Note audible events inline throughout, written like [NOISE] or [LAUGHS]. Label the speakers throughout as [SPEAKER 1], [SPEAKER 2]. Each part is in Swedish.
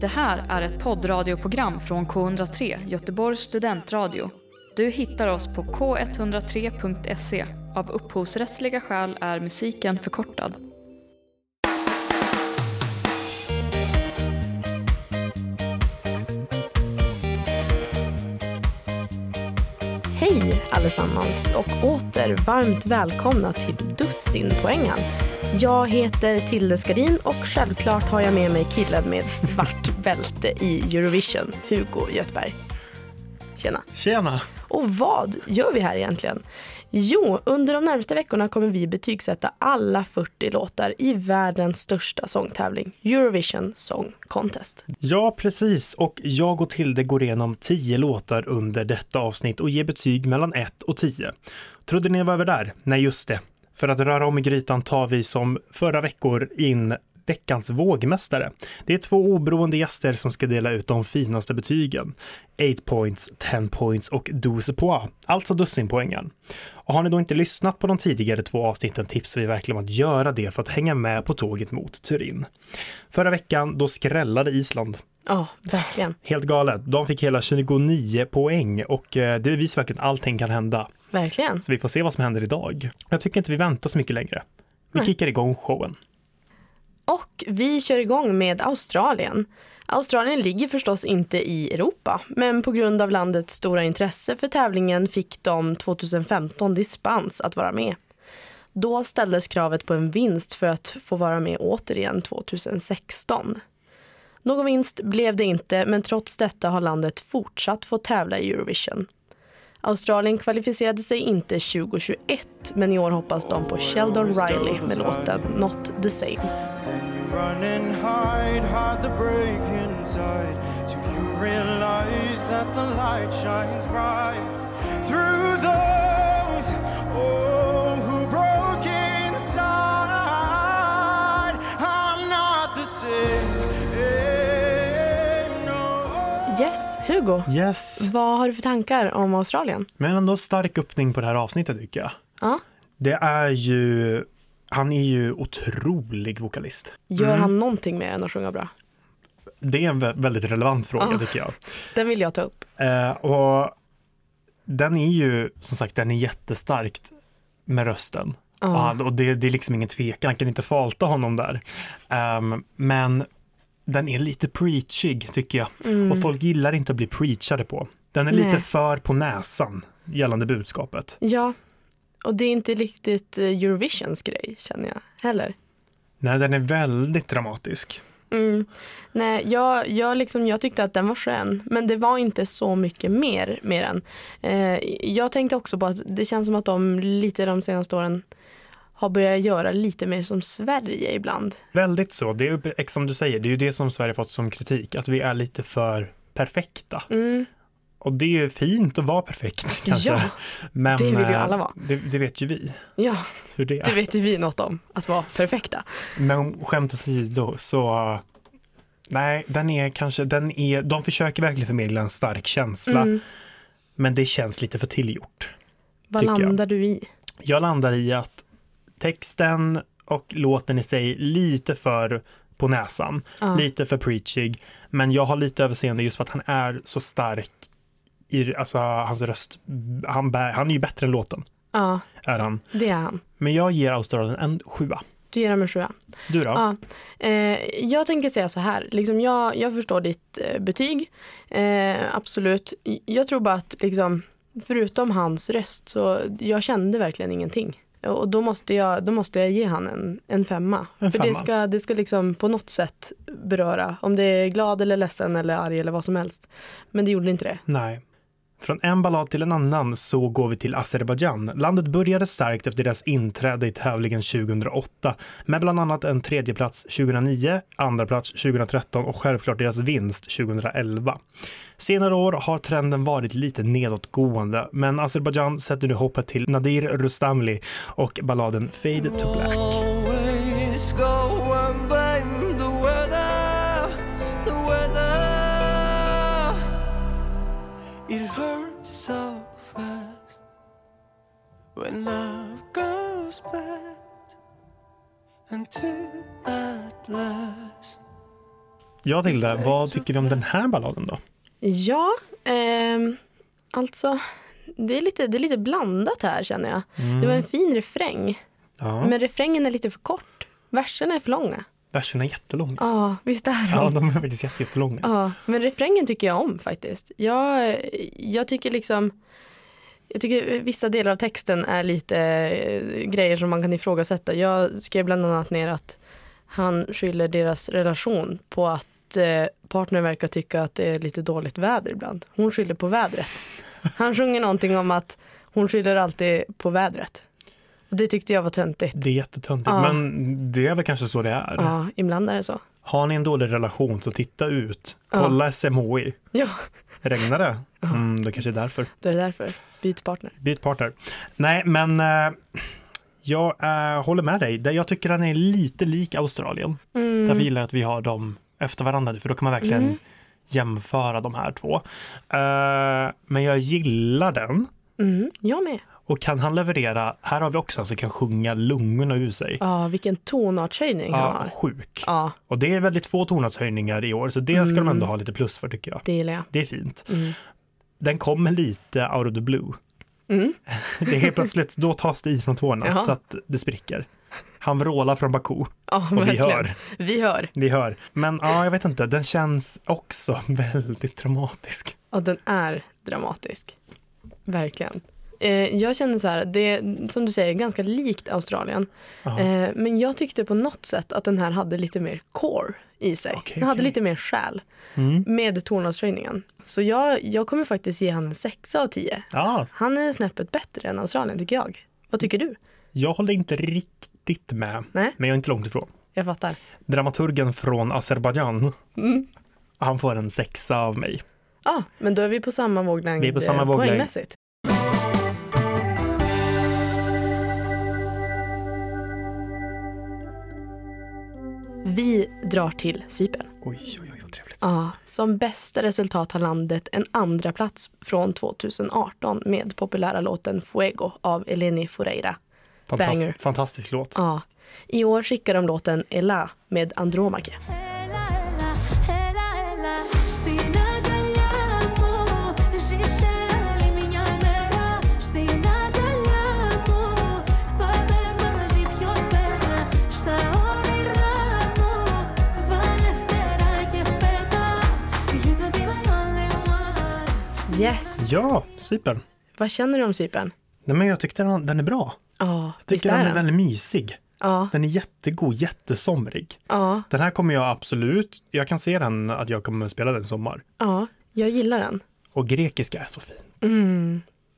[SPEAKER 1] Det här är ett poddradioprogram från K103, Göteborgs studentradio. Du hittar oss på k103.se. Av upphovsrättsliga skäl är musiken förkortad.
[SPEAKER 2] Hej allesammans och åter varmt välkomna till Dussinpoängen. Jag heter Tilde Skarin och självklart har jag med mig killen med svart bälte i Eurovision, Hugo Göthberg. Tjena.
[SPEAKER 3] Tjena!
[SPEAKER 2] Och vad gör vi här egentligen? Jo, under de närmaste veckorna kommer vi betygsätta alla 40 låtar i världens största sångtävling, Eurovision Song Contest.
[SPEAKER 3] Ja, precis. Och jag och Tilde går igenom 10 låtar under detta avsnitt och ger betyg mellan 1 och 10. Trodde ni jag var över där? Nej, just det. För att röra om i grytan tar vi som förra veckor in veckans vågmästare. Det är två oberoende gäster som ska dela ut de finaste betygen. 8 points, 10 points och 12 points, alltså dussinpoängen. Och har ni då inte lyssnat på de tidigare två avsnitten tipsar vi verkligen om att göra det för att hänga med på tåget mot Turin. Förra veckan, då skrällade Island.
[SPEAKER 2] Ja, verkligen.
[SPEAKER 3] Helt galet. De fick hela 29 poäng och eh, det bevisar verkligen att allting kan hända.
[SPEAKER 2] Verkligen.
[SPEAKER 3] Så vi får se vad som händer idag. Jag tycker inte vi väntar så mycket längre. Vi
[SPEAKER 2] Nej.
[SPEAKER 3] kickar igång showen.
[SPEAKER 2] Och vi kör igång med Australien. Australien ligger förstås inte i Europa, men på grund av landets stora intresse för tävlingen fick de 2015 dispens att vara med. Då ställdes kravet på en vinst för att få vara med återigen 2016. Någon vinst blev det inte, men trots detta har landet fortsatt få tävla i Eurovision. Australien kvalificerade sig inte 2021, men i år hoppas de på Sheldon Riley med låten Not the same.
[SPEAKER 4] And you run and hide, hide the break inside. Till you realize that the light shines bright through those oh, who broke inside. I'm not the same. No.
[SPEAKER 2] Yes, Hugo.
[SPEAKER 3] Yes!
[SPEAKER 2] Vad har du för tankar om Australien?
[SPEAKER 3] Men ändå stark öppning på det här avsnittet tycker jag.
[SPEAKER 2] Ja.
[SPEAKER 3] Det är ju, han är ju otrolig vokalist.
[SPEAKER 2] Gör han någonting mer än att sjunga bra?
[SPEAKER 3] Det är en vä- väldigt relevant fråga tycker jag.
[SPEAKER 2] Den vill jag ta upp.
[SPEAKER 3] Eh, och den är ju, som sagt, den är jättestarkt med rösten. Och, han, och det, det är liksom ingen tvekan, han kan inte falta honom där. Ehm, men den är lite preachig tycker jag.
[SPEAKER 2] Mm.
[SPEAKER 3] Och folk gillar inte att bli preachade på. Den är lite
[SPEAKER 2] Nej.
[SPEAKER 3] för på näsan gällande budskapet.
[SPEAKER 2] Ja, och det är inte riktigt eh, Eurovisions grej känner jag heller.
[SPEAKER 3] Nej, den är väldigt dramatisk.
[SPEAKER 2] Mm. Nej, jag, jag, liksom, jag tyckte att den var skön, men det var inte så mycket mer med den. Eh, jag tänkte också på att det känns som att de lite de senaste åren har börjat göra lite mer som Sverige ibland.
[SPEAKER 3] Väldigt så, det är ju exakt som du säger, det är ju det som Sverige fått som kritik, att vi är lite för perfekta.
[SPEAKER 2] Mm.
[SPEAKER 3] Och det är ju fint att vara perfekt [LAUGHS] kanske.
[SPEAKER 2] Ja,
[SPEAKER 3] Men,
[SPEAKER 2] det vill ju
[SPEAKER 3] eh,
[SPEAKER 2] alla vara.
[SPEAKER 3] Det, det vet ju vi
[SPEAKER 2] Ja,
[SPEAKER 3] hur det är.
[SPEAKER 2] det vet ju vi något om, att vara perfekta.
[SPEAKER 3] Men skämt åsido så eh, nej, den är kanske, den är, de försöker verkligen förmedla en stark känsla.
[SPEAKER 2] Mm.
[SPEAKER 3] Men det känns lite för tillgjort.
[SPEAKER 2] Vad
[SPEAKER 3] Tycker jag.
[SPEAKER 2] landar du i?
[SPEAKER 3] Jag landar i att texten och låten i sig lite för på näsan,
[SPEAKER 2] Ja.
[SPEAKER 3] lite för preachig, men jag har lite överseende just för att han är så stark i, alltså hans röst, han, bär, han är ju bättre än låten,
[SPEAKER 2] Ja,
[SPEAKER 3] är han.
[SPEAKER 2] det är han.
[SPEAKER 3] Men jag ger Australien en sjua.
[SPEAKER 2] Du ger dem en sjua.
[SPEAKER 3] Du då?
[SPEAKER 2] Ja. Eh, jag tänker säga så här, liksom jag, jag förstår ditt eh, betyg, eh, absolut. I- Jag tror bara att liksom, förutom hans röst så jag kände verkligen ingenting. Och då måste jag, då måste jag ge han en, en femma.
[SPEAKER 3] En
[SPEAKER 2] För det
[SPEAKER 3] femma.
[SPEAKER 2] ska, det ska liksom på något sätt beröra, om det är glad eller ledsen eller arg eller vad som helst. Men det gjorde inte det.
[SPEAKER 3] Nej. Från en ballad till en annan så går vi till Azerbajdzjan. Landet började starkt efter deras inträde i tävlingen 2008 med bland annat en tredjeplats 2009, andra plats 2013 och självklart deras vinst 2011. Senare år har trenden varit lite nedåtgående men Azerbajdzjan sätter nu hoppet till Nadir Rustamli och balladen Fade to Black.
[SPEAKER 4] Always go and blame the weather, the weather. It hurts so fast when love goes bad, and to at last
[SPEAKER 3] Ja, Tilda, vad tycker vi om den här balladen då?
[SPEAKER 2] Ja, ehm, alltså det är, lite, det är lite blandat här känner jag. Det var en fin refräng,
[SPEAKER 3] Mm. Ja,
[SPEAKER 2] men refrängen är lite för kort. Verserna är för långa.
[SPEAKER 3] verserna är jättelånga.
[SPEAKER 2] Ja, visst är de.
[SPEAKER 3] Ja, de är faktiskt jätte- jättelånga.
[SPEAKER 2] Ja, men refrängen tycker jag om faktiskt. Jag, jag tycker liksom jag tycker vissa delar av texten är lite eh, grejer som man kan ifrågasätta. Jag skrev bland annat ner att han skyller deras relation på att eh, partnern verkar tycka att det är lite dåligt väder ibland. Hon skyller på vädret. Han sjunger någonting om att hon skyller alltid på vädret. Och det tyckte jag var töntigt.
[SPEAKER 3] Det är jättetöntigt,
[SPEAKER 2] Ja.
[SPEAKER 3] men det är väl kanske så det är.
[SPEAKER 2] Ja, ibland är det så.
[SPEAKER 3] Har ni en dålig relation så titta ut.
[SPEAKER 2] Ja.
[SPEAKER 3] Kolla SMHI.
[SPEAKER 2] Ja,
[SPEAKER 3] Regnar det? Mm, det kanske är därför.
[SPEAKER 2] då är det därför. Byt partner.
[SPEAKER 3] Byt partner. Nej, men eh, jag eh, håller med dig. Det- Jag tycker den är lite lik Australien. Därför gillar jag att vi har dem efter varandra nu, för då kan man verkligen
[SPEAKER 2] Mm.
[SPEAKER 3] jämföra de här två. Eh, men jag gillar den.
[SPEAKER 2] Mm, jag med.
[SPEAKER 3] Och kan han leverera, här har vi också en som kan sjunga lungorna ur sig.
[SPEAKER 2] Ja, vilken tonartshöjning han
[SPEAKER 3] Ja,
[SPEAKER 2] har.
[SPEAKER 3] sjuk.
[SPEAKER 2] Ja,
[SPEAKER 3] Och det är väldigt få tonartshöjningar i år, så det ska de ändå ha lite plus för tycker jag.
[SPEAKER 2] det gillar jag.
[SPEAKER 3] Det är fint.
[SPEAKER 2] Mm.
[SPEAKER 3] Den kommer lite out of the blue.
[SPEAKER 2] Mm.
[SPEAKER 3] [LAUGHS] Det är helt plötsligt, då tas det i från tårna
[SPEAKER 2] Jaha.
[SPEAKER 3] så att det spricker. Han vrålar från Baku
[SPEAKER 2] Ja,
[SPEAKER 3] och vi
[SPEAKER 2] verkligen.
[SPEAKER 3] hör,
[SPEAKER 2] Vi hör.
[SPEAKER 3] vi hör. Men ja, jag vet inte, den känns också [LAUGHS] väldigt traumatisk.
[SPEAKER 2] Ja, den är dramatisk. Verkligen. Eh, jag känner så här, det är som du säger ganska likt Australien.
[SPEAKER 3] Ja.
[SPEAKER 2] Eh, men jag tyckte på något sätt att den här hade lite mer core i sig.
[SPEAKER 3] Okej,
[SPEAKER 2] den hade
[SPEAKER 3] okej.
[SPEAKER 2] lite mer själ
[SPEAKER 3] Mm.
[SPEAKER 2] med tonartshöjningen. Så jag, jag kommer faktiskt ge han en sexa av tio.
[SPEAKER 3] Ja,
[SPEAKER 2] Han är snäppet bättre än Australien tycker jag. Vad tycker du?
[SPEAKER 3] jag håller inte riktigt med,
[SPEAKER 2] Nej.
[SPEAKER 3] men jag är inte långt ifrån.
[SPEAKER 2] Jag fattar. Mm.
[SPEAKER 3] Dramaturgen från Azerbajdzjan, han får en sexa av mig.
[SPEAKER 2] Ja, ah, men då är vi på samma våglängd
[SPEAKER 3] Vi är på samma
[SPEAKER 2] eh,
[SPEAKER 3] våglängd.
[SPEAKER 2] poängmässigt. Vi drar till Cypern.
[SPEAKER 3] Oj, oj, oj, vad trevligt.
[SPEAKER 2] Ja, som bästa resultat har landet en andra plats från 2018 med populära låten Fuego av Eleni Foureira. banger.
[SPEAKER 3] Fantast, fantastisk låt.
[SPEAKER 2] Ja, i år skickar de låten Ella med Andromache.
[SPEAKER 5] Έλα, έλα, έλα, έλα Στην αγκαλιά μου Ζήσε άλλη μια μέρα Στην αγκαλιά μου Πάμε μαζί πιο πέρα Στα όνειρά μου Βάλε φτερά και πέτα You can be my only one
[SPEAKER 2] Yes!
[SPEAKER 3] Ja, Cypern.
[SPEAKER 2] Vad känner du om Cypern?
[SPEAKER 3] Nej, men jag tyckte den, den är bra.
[SPEAKER 2] Ja,
[SPEAKER 3] Jag
[SPEAKER 2] visst
[SPEAKER 3] tycker den
[SPEAKER 2] är den?
[SPEAKER 3] är väldigt mysig.
[SPEAKER 2] Ja,
[SPEAKER 3] Den är jättegod, jättesomrig.
[SPEAKER 2] ja,
[SPEAKER 3] Den här kommer jag absolut, jag kan se den, att jag kommer spela den i sommar.
[SPEAKER 2] ja. Jag gillar den.
[SPEAKER 3] Och grekiska är så fint.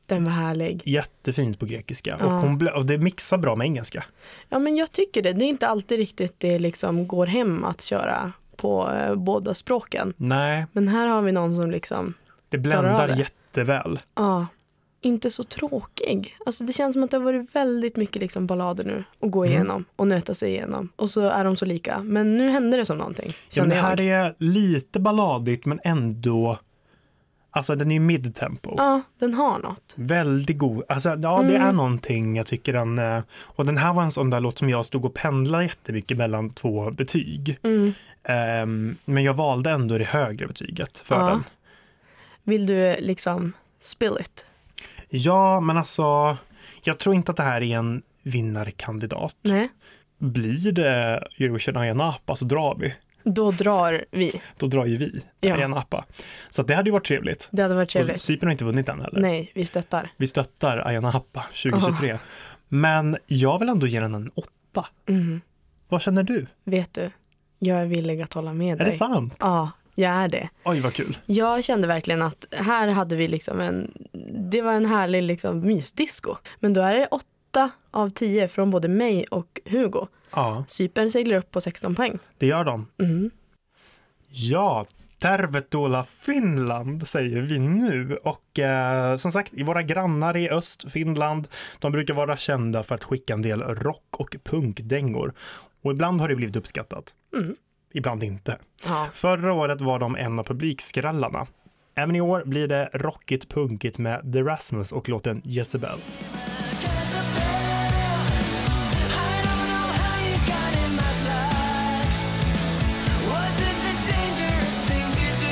[SPEAKER 2] Den var härlig.
[SPEAKER 3] Jättefint på grekiska.
[SPEAKER 2] Ja.
[SPEAKER 3] Och, hon ble, och det mixar bra med engelska.
[SPEAKER 2] Ja, men jag tycker det. Det är inte alltid riktigt det liksom går hem att köra på eh, båda språken.
[SPEAKER 3] Nej,
[SPEAKER 2] Men här har vi någon som liksom,
[SPEAKER 3] det
[SPEAKER 2] Klarar
[SPEAKER 3] bländar
[SPEAKER 2] av det.
[SPEAKER 3] jätteväl.
[SPEAKER 2] ja, inte så tråkig. Alltså det känns som att det har varit väldigt mycket liksom ballader nu att
[SPEAKER 3] Mm.
[SPEAKER 2] gå igenom och nöta sig igenom. Och så är de så lika. Men nu hände det som någonting,
[SPEAKER 3] Ja, men
[SPEAKER 2] kände
[SPEAKER 3] det här
[SPEAKER 2] jag.
[SPEAKER 3] är lite balladigt men ändå, alltså den är ju midtempo.
[SPEAKER 2] Ja, Mm. den har något.
[SPEAKER 3] Väldigt god. Alltså, ja, det är någonting jag tycker den... eh, Och den här var en sån där låt som jag stod och pendlade jättemycket mellan två betyg.
[SPEAKER 2] Mm.
[SPEAKER 3] Ehm, men jag valde ändå det högre betyget för
[SPEAKER 2] Ja.
[SPEAKER 3] den.
[SPEAKER 2] Vill du eh, liksom spill it?
[SPEAKER 3] Ja, men alltså, jag tror inte att det här är en vinnarkandidat.
[SPEAKER 2] Nej,
[SPEAKER 3] Blir det Eurovision Ayia Napa så drar vi.
[SPEAKER 2] då drar vi.
[SPEAKER 3] Då drar ju vi
[SPEAKER 2] Ja.
[SPEAKER 3] Ayia Napa. Så att det hade ju varit trevligt.
[SPEAKER 2] Det hade varit
[SPEAKER 3] Och
[SPEAKER 2] trevligt.
[SPEAKER 3] Cypern har inte vunnit än heller.
[SPEAKER 2] Nej, vi stöttar.
[SPEAKER 3] Vi stöttar Ayia Napa 2023. Men jag vill ändå ge den en åtta.
[SPEAKER 2] Mm.
[SPEAKER 3] Vad känner du?
[SPEAKER 2] Vet du, jag är villig att hålla med
[SPEAKER 3] Är
[SPEAKER 2] dig.
[SPEAKER 3] det sant?
[SPEAKER 2] Ja, jag är det.
[SPEAKER 3] Oj, vad kul.
[SPEAKER 2] Jag kände verkligen att här hade vi liksom en, det var en härlig liksom mysdisco. Men då är det åtta av tio från både mig och Hugo.
[SPEAKER 3] Ja,
[SPEAKER 2] Cypern seglar upp på 16 poäng.
[SPEAKER 3] det gör de.
[SPEAKER 2] Mm.
[SPEAKER 3] Ja, Tervetuola Finland säger vi nu. Och eh, som sagt, våra grannar i öst, Finland, de brukar vara kända för att skicka en del rock och punkdängor. Och ibland har det blivit uppskattat.
[SPEAKER 2] Mm.
[SPEAKER 3] Ibland inte.
[SPEAKER 2] Ja.
[SPEAKER 3] Förra året var de en av publikskrällarna. Även i år blir det rockigt punkigt med The Rasmus och låten Jezebel.
[SPEAKER 6] I don't know how you got in my blood. Was it the danger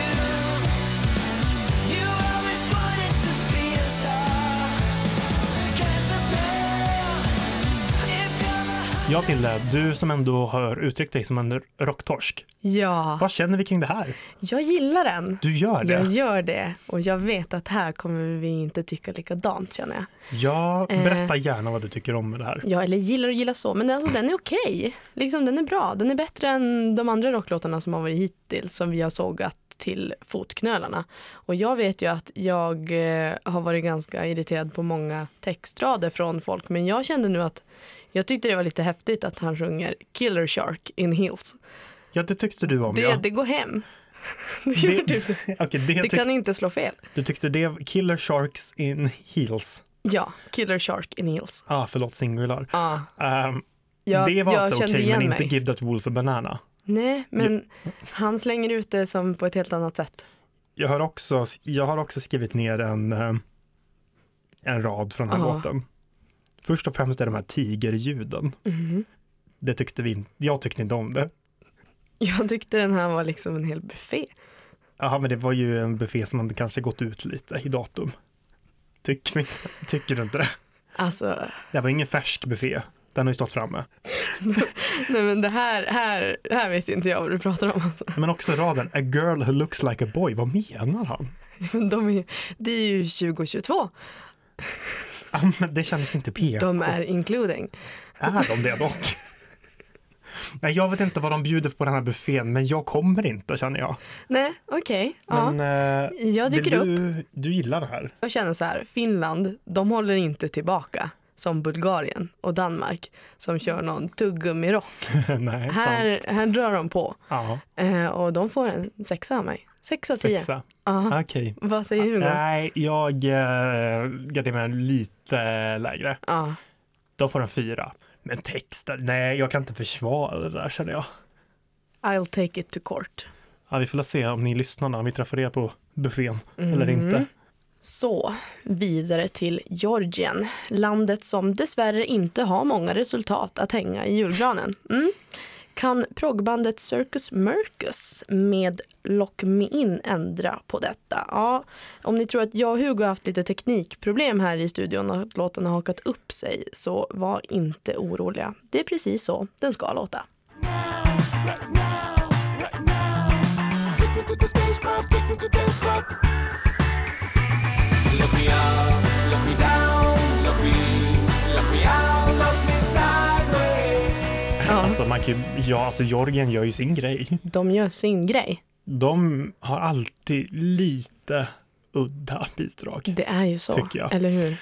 [SPEAKER 3] Ja, Tilde, du som ändå har uttryckt dig som en rocktorsk.
[SPEAKER 2] Ja,
[SPEAKER 3] Vad känner vi kring det här?
[SPEAKER 2] jag gillar den.
[SPEAKER 3] Du gör
[SPEAKER 2] Jag
[SPEAKER 3] det?
[SPEAKER 2] gör det och jag vet att här kommer vi inte tycka likadant känner jag.
[SPEAKER 3] Ja,
[SPEAKER 2] Eh.
[SPEAKER 3] berätta gärna vad du tycker om det här.
[SPEAKER 2] Ja, eller gillar och gillar så, men alltså, den är okej. Liksom, den är bra. Den är bättre än de andra rocklåtarna som har varit hittills som vi har sågat till fotknölarna. Och jag vet ju att jag eh, har varit ganska irriterad på många textrader från folk, men jag kände nu att jag tyckte det var lite häftigt att han sjunger Killer Shark in Hills.
[SPEAKER 3] Ja, det tyckte du om,
[SPEAKER 2] Det, [LAUGHS]
[SPEAKER 3] ja.
[SPEAKER 2] det går hem. Det,
[SPEAKER 3] Det-
[SPEAKER 2] gjorde du.
[SPEAKER 3] [LAUGHS] Okej, det
[SPEAKER 2] det
[SPEAKER 3] tyck-
[SPEAKER 2] kan inte slå fel.
[SPEAKER 3] Du tyckte det, Killer Sharks in Heels.
[SPEAKER 2] Ja, Killer Shark in Hills.
[SPEAKER 3] Ah, förlåt, singular.
[SPEAKER 2] Ja,
[SPEAKER 3] Ehm,
[SPEAKER 2] jag,
[SPEAKER 3] det var
[SPEAKER 2] jag
[SPEAKER 3] alltså
[SPEAKER 2] kände
[SPEAKER 3] okej,
[SPEAKER 2] igen
[SPEAKER 3] men inte
[SPEAKER 2] mig.
[SPEAKER 3] Give That Wolf a Banana.
[SPEAKER 2] Nej, men han slänger ut det som på ett helt annat sätt.
[SPEAKER 3] Jag har också, jag har också skrivit ner en, eh, en rad från den här
[SPEAKER 2] Ja.
[SPEAKER 3] låten. Först och främst är de här tigerljuden. Det tyckte vi inte, jag tyckte inte om det.
[SPEAKER 2] Jag tyckte den här var liksom en hel buffé.
[SPEAKER 3] Jaha, men det var ju en buffé som hade kanske gått ut lite i datum. Tycker, vi- [LAUGHS] tycker du inte det?
[SPEAKER 2] Alltså,
[SPEAKER 3] Det var ingen färsk buffé. Den har ju stått framme.
[SPEAKER 2] nej men det här, här, här vet inte jag vad du pratar om. Alltså.
[SPEAKER 3] Men också raden, a girl who looks like a boy. Vad menar han?
[SPEAKER 2] Men de är, det är ju 2022,
[SPEAKER 3] Ja, men Det kändes inte PK.
[SPEAKER 2] de är including.
[SPEAKER 3] Är de det dock? Nej, jag vet inte vad de bjuder på den här buffén, men jag kommer inte känner jag.
[SPEAKER 2] Nej, okej.
[SPEAKER 3] Men
[SPEAKER 2] ja.
[SPEAKER 3] eh,
[SPEAKER 2] Jag
[SPEAKER 3] vill
[SPEAKER 2] dyker upp
[SPEAKER 3] du, du gillar det här. [LAUGHS]
[SPEAKER 2] och känner så här, Finland, de håller inte tillbaka som Bulgarien och Danmark som kör någon tuggummirock.
[SPEAKER 3] Nej, sant.
[SPEAKER 2] Här, här drar de på
[SPEAKER 3] Ja,
[SPEAKER 2] eh, och de får en sexa av mig. Sex av tio.
[SPEAKER 3] sexa.
[SPEAKER 2] Ja.
[SPEAKER 3] Okej.
[SPEAKER 2] Vad säger du? då?
[SPEAKER 3] Nej, jag eh, garderar mig lite lägre.
[SPEAKER 2] Ja.
[SPEAKER 3] De får en fyra. Men texten, nej, jag kan inte försvara det där känner jag.
[SPEAKER 2] I'll take it to court.
[SPEAKER 3] Ja, vi får väl se om ni lyssnar när vi träffar er på buffén eller
[SPEAKER 2] Mm.
[SPEAKER 3] inte.
[SPEAKER 2] Så, vidare till Georgien. Landet som dessvärre inte har många resultat att hänga i julgranen. Mm. Kan proggbandet Circus Mercus med Lock Me In ändra på detta? Ja, om ni tror att jag och Hugo har haft lite teknikproblem här i studion och att låten har hakat upp sig, så var inte oroliga. Det är precis så den ska låta.
[SPEAKER 6] Look me up, look me down, look me, look me out, look me sideways.
[SPEAKER 3] Alltså, man kan ju, ja, alltså Jorgen gör ju sin grej.
[SPEAKER 2] De gör sin grej.
[SPEAKER 3] De har alltid lite udda bidrag.
[SPEAKER 2] Det är ju så,
[SPEAKER 3] Tycker jag.
[SPEAKER 2] eller hur?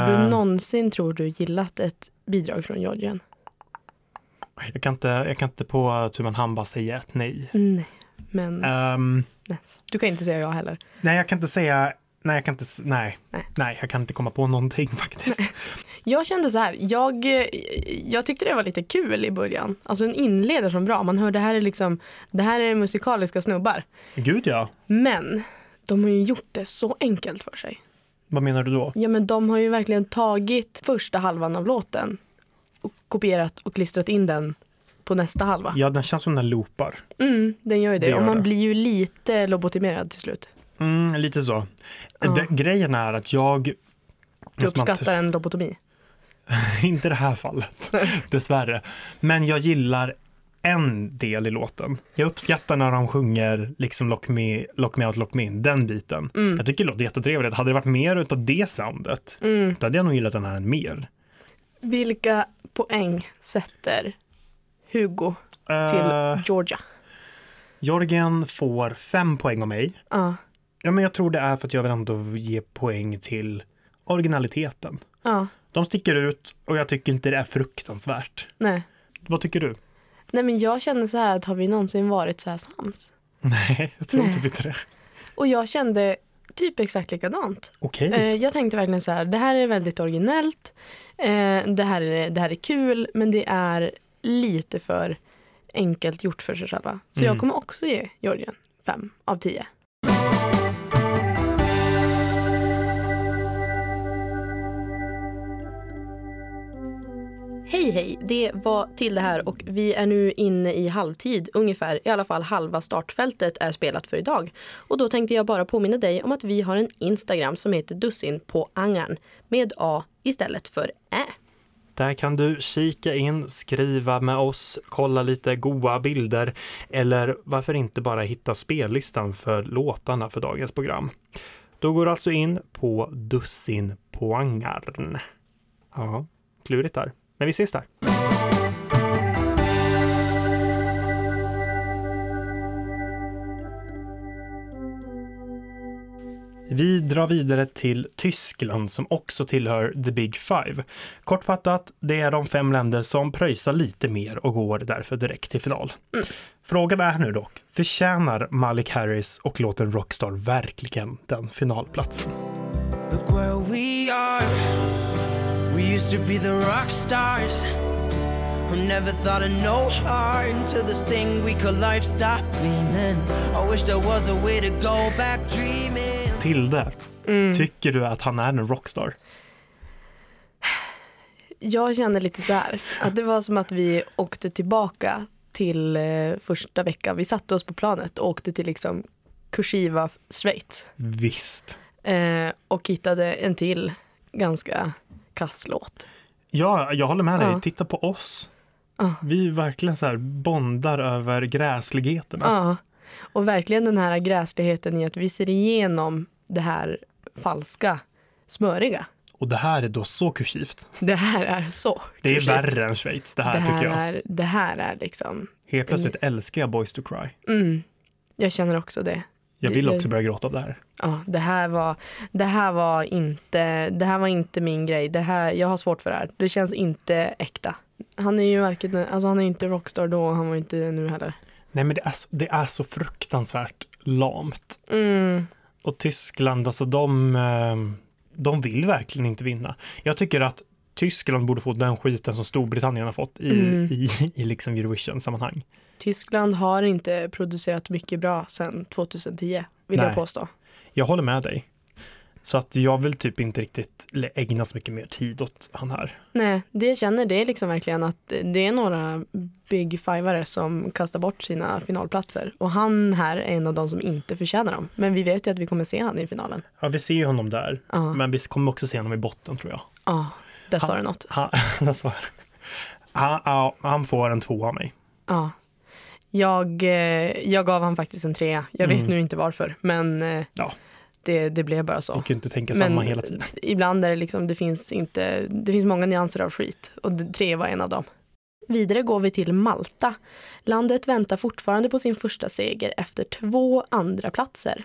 [SPEAKER 2] Har du
[SPEAKER 3] Eh,
[SPEAKER 2] någonsin, tror du, gillat ett bidrag från Georgien?
[SPEAKER 3] jag, kan inte, jag kan inte på tu man hand bara säga ett nej.
[SPEAKER 2] Nej, men
[SPEAKER 3] Ehm,
[SPEAKER 2] näst. Du kan inte säga jag heller.
[SPEAKER 3] nej, jag kan inte säga, nej, jag kan inte, s- nej,
[SPEAKER 2] Nej.
[SPEAKER 3] nej, jag kan inte komma på någonting [LAUGHS] faktiskt.
[SPEAKER 2] [LAUGHS] Jag kände så här, jag, eh, jag tyckte det var lite kul i början. Alltså den inleder som bra, man hör det här är liksom, det här är musikaliska snubbar.
[SPEAKER 3] Gud ja,
[SPEAKER 2] Men de har ju gjort det så enkelt för sig.
[SPEAKER 3] vad menar du då?
[SPEAKER 2] Ja men de har ju verkligen tagit första halvan av låten och kopierat och klistrat in den på nästa halva.
[SPEAKER 3] Ja, den känns som den loopar.
[SPEAKER 2] Mm, den gör ju det.
[SPEAKER 3] Det gör
[SPEAKER 2] och man
[SPEAKER 3] det.
[SPEAKER 2] blir ju lite lobotimerad till slut.
[SPEAKER 3] Mm, lite så.
[SPEAKER 2] Ja.
[SPEAKER 3] Det, grejen är att jag...
[SPEAKER 2] Du
[SPEAKER 3] som att-
[SPEAKER 2] uppskattar en lobotomi.
[SPEAKER 3] [LAUGHS] inte det här fallet, dessvärre. Men jag gillar en del i låten. Jag uppskattar när de sjunger liksom lock me, lock me out, lock me in, den biten. Jag tycker det låter jättetrevligt. Hade det varit mer utav det soundet,
[SPEAKER 2] Mm.
[SPEAKER 3] då hade jag nog gillat den här mer.
[SPEAKER 2] Vilka poäng sätter Hugo till
[SPEAKER 3] Eh,
[SPEAKER 2] Georgia?
[SPEAKER 3] Jorgen får fem poäng av mig.
[SPEAKER 2] Ja,
[SPEAKER 3] Ja, men jag tror det är för att jag vill ändå ge poäng till originaliteten.
[SPEAKER 2] ja,
[SPEAKER 3] De sticker ut och jag tycker inte det är fruktansvärt.
[SPEAKER 2] nej.
[SPEAKER 3] Vad tycker du? [LAUGHS]
[SPEAKER 2] Nej men jag känner så här att har vi någonsin varit så här sams?
[SPEAKER 3] Nej, jag tror inte det.
[SPEAKER 2] Och jag kände typ exakt likadant.
[SPEAKER 3] Okej.
[SPEAKER 2] Eh, jag tänkte verkligen så här, det här är väldigt originellt, eh, det, här är, det här är kul, men det är lite för enkelt gjort för sig själva. Så jag kommer också ge Georgien fem av tio. Hej hej, det var till det här och vi är nu inne i halvtid ungefär. I alla fall halva startfältet är spelat för idag. Och då tänkte jag bara påminna dig om att vi har en Instagram som heter Dussin på Angern med A istället för Ä.
[SPEAKER 3] Där kan du kika in, skriva med oss, kolla lite goa bilder eller varför inte bara hitta spellistan för låtarna för dagens program. Då går du alltså in på dussinpoangarn. Ja, klurigt där. Men vi ses där. Vi drar vidare till Tyskland som också tillhör the big five. Kortfattat, det är de fem länder som pröjsar lite mer och går därför direkt till final.
[SPEAKER 2] Mm.
[SPEAKER 3] Frågan är nu dock, förtjänar Malik Harris och låten Rockstar verkligen den finalplatsen?
[SPEAKER 4] Look where we are. We used to be the rock stars. Who never thought of no harm until this thing we call life stopped gleaming. I wish there was a way to go back dreaming.
[SPEAKER 3] Tilde,
[SPEAKER 2] Mm.
[SPEAKER 3] tycker du att han är en rockstar?
[SPEAKER 2] Jag känner lite så här, att det var som att vi åkte tillbaka till eh, första veckan. Vi satte oss på planet och åkte till liksom kursiva Schweiz
[SPEAKER 3] Visst.
[SPEAKER 2] eh, och hittade en till ganska kass låt.
[SPEAKER 3] Ja, jag håller med dig.
[SPEAKER 2] Ja.
[SPEAKER 3] Titta på oss.
[SPEAKER 2] Ja.
[SPEAKER 3] Vi verkligen så här bondar över gräsligheterna.
[SPEAKER 2] Ja, och verkligen den här gräsligheten i att vi ser igenom det här falska, smöriga.
[SPEAKER 3] Och det här är då så kursivt.
[SPEAKER 2] Det här är så
[SPEAKER 3] Det är
[SPEAKER 2] kursivt.
[SPEAKER 3] värre än Schweiz, det här,
[SPEAKER 2] Det här,
[SPEAKER 3] tycker jag.
[SPEAKER 2] är, det här är liksom,
[SPEAKER 3] Helt plötsligt älskar jag Boys to Cry.
[SPEAKER 2] mm, jag känner också det.
[SPEAKER 3] Jag
[SPEAKER 2] Det-
[SPEAKER 3] vill
[SPEAKER 2] jag-
[SPEAKER 3] också börja gråta av det här.
[SPEAKER 2] Ja, det här var, det här var inte, det här var inte min grej. Det här, jag har svårt för det här. Det känns inte äkta. Han är ju varken, alltså han är inte rockstar då och han var inte det nu heller.
[SPEAKER 3] Nej, men det är så, det är så fruktansvärt lamt.
[SPEAKER 2] Mm.
[SPEAKER 3] Och Tyskland, alltså de, eh, de vill verkligen inte vinna. Jag tycker att Tyskland borde få den skiten som Storbritannien har fått i,
[SPEAKER 2] Mm.
[SPEAKER 3] i, i liksom Eurovision-sammanhang.
[SPEAKER 2] Tyskland har inte producerat mycket bra sedan 2010, vill
[SPEAKER 3] Nej.
[SPEAKER 2] jag påstå.
[SPEAKER 3] Jag håller med dig. Så att jag vill typ inte riktigt lä- ägna så mycket mer tid åt han här.
[SPEAKER 2] Nej, det jag känner det är liksom verkligen att det är några big fiveare som kastar bort sina finalplatser. Och han här är en av de som inte förtjänar dem. Men vi vet ju att vi kommer se han i finalen.
[SPEAKER 3] Ja, vi ser ju honom där,
[SPEAKER 2] Ja,
[SPEAKER 3] men vi kommer också se honom i botten tror jag. [LAUGHS]
[SPEAKER 2] ja, där sa du något.
[SPEAKER 3] Han, jag svarar. han, ja, han får en tvåa av mig.
[SPEAKER 2] Ja. Jag, eh, jag gav han faktiskt en trea. Jag vet
[SPEAKER 3] Mm.
[SPEAKER 2] nu inte varför, men eh,
[SPEAKER 3] Ja.
[SPEAKER 2] det, det blev bara
[SPEAKER 3] Vi
[SPEAKER 2] så.
[SPEAKER 3] kan ju inte tänka
[SPEAKER 2] Men-
[SPEAKER 3] samma hela tiden.
[SPEAKER 2] Ibland är det liksom, det finns inte, det finns många nyanser av skit och det- tre var en av dem. Vidare går vi till Malta. Landet väntar fortfarande på sin första seger efter två andra platser.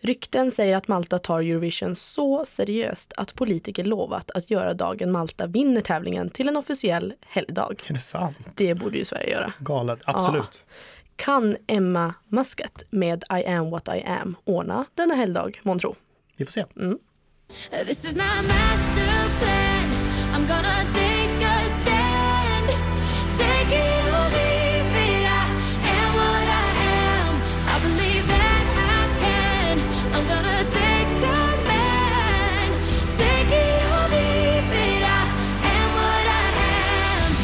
[SPEAKER 2] Rykten säger att Malta tar Eurovision så seriöst att politiker lovat att göra dagen Malta vinner tävlingen till en officiell helgdag.
[SPEAKER 3] Är det sant?
[SPEAKER 2] Det borde ju Sverige göra.
[SPEAKER 3] Galet, absolut.
[SPEAKER 2] Kan Emma Musket med I am what I am ordna denna helgdag månntro?
[SPEAKER 3] Vi får se.
[SPEAKER 2] Mm.
[SPEAKER 5] This is my master plan. I'm gonna take a stand. Take it or leave it. I am what I am. I believe that I can. I'm gonna take command. Take it or leave it. I am what I am.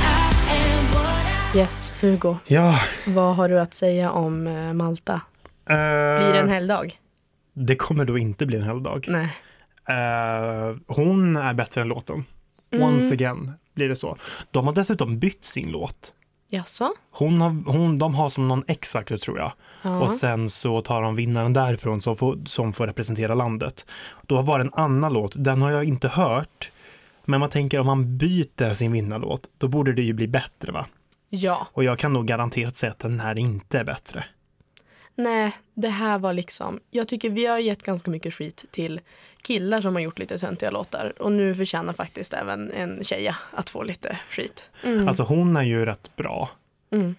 [SPEAKER 5] I am what I am.
[SPEAKER 2] Yes, Hugo.
[SPEAKER 3] Ja,
[SPEAKER 2] Vad har du att säga om eh, Malta? Blir det
[SPEAKER 3] Eh.
[SPEAKER 2] en helgdag?
[SPEAKER 3] det kommer då inte bli en helgdag.
[SPEAKER 2] Nej. Mm.
[SPEAKER 3] Eh, hon är bättre än låten. Once again blir det så. De har dessutom bytt sin låt.
[SPEAKER 2] Jaså?
[SPEAKER 3] Hon har, hon, de har som någon X-Factor tror jag.
[SPEAKER 2] Ja.
[SPEAKER 3] Och sen så tar de vinnaren därifrån som får, som får representera landet. Då var det en annan låt, den har jag inte hört. Men man tänker om man byter sin vinnarlåt, då borde det ju bli bättre va?
[SPEAKER 2] ja.
[SPEAKER 3] Och jag kan nog garanterat säga att den här inte är bättre.
[SPEAKER 2] Nej, det här var liksom... Jag tycker vi har gett ganska mycket skit till killar som har gjort lite töntiga låtar. Och nu förtjänar faktiskt även en tjeja att få lite skit.
[SPEAKER 3] Alltså hon är ju rätt bra,
[SPEAKER 2] Mm.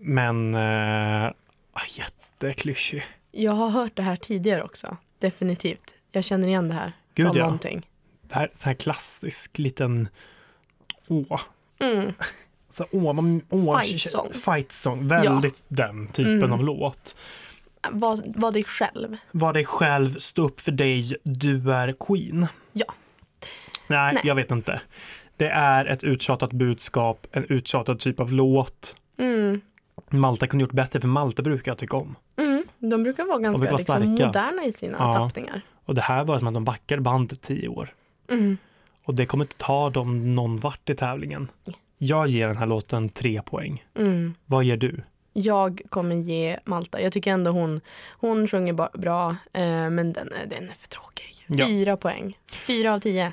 [SPEAKER 3] men eh, ah, jätteklyschig.
[SPEAKER 2] Jag har hört det här tidigare också. Definitivt. Jag känner igen det här.
[SPEAKER 3] Gud,
[SPEAKER 2] från
[SPEAKER 3] ja.
[SPEAKER 2] någonting.
[SPEAKER 3] Det här, så här klassisk liten, åh,
[SPEAKER 2] Mm.
[SPEAKER 3] så, åh, man, åh,
[SPEAKER 2] Fight
[SPEAKER 3] tje-
[SPEAKER 2] song.
[SPEAKER 3] fight song. Väldigt den typen
[SPEAKER 2] Mm.
[SPEAKER 3] av låt.
[SPEAKER 2] Var, var dig själv.
[SPEAKER 3] Var dig själv, stå upp för dig, du är queen.
[SPEAKER 2] Ja.
[SPEAKER 3] Nej,
[SPEAKER 2] Nej.
[SPEAKER 3] jag vet inte. Det är ett uttjatat budskap, en uttjatad typ av låt.
[SPEAKER 2] Mm.
[SPEAKER 3] Malta kunde gjort bättre, för Malta brukar jag tycka om.
[SPEAKER 2] Mm, de brukar vara ganska
[SPEAKER 3] brukar vara
[SPEAKER 2] liksom,
[SPEAKER 3] starka.
[SPEAKER 2] moderna i sina
[SPEAKER 3] Ja.
[SPEAKER 2] tappningar.
[SPEAKER 3] Och det här var som att de backade bandet tio år.
[SPEAKER 2] Mm.
[SPEAKER 3] Och det kommer inte ta dem någon vart i tävlingen. Jag ger den här låten tre poäng.
[SPEAKER 2] Mm.
[SPEAKER 3] Vad ger du?
[SPEAKER 2] Jag kommer ge Malta. Jag tycker ändå hon, hon sjunger ba- bra, eh, men den, är- den är för tråkig.
[SPEAKER 3] Ja.
[SPEAKER 2] Fyra poäng. Fyra av tio.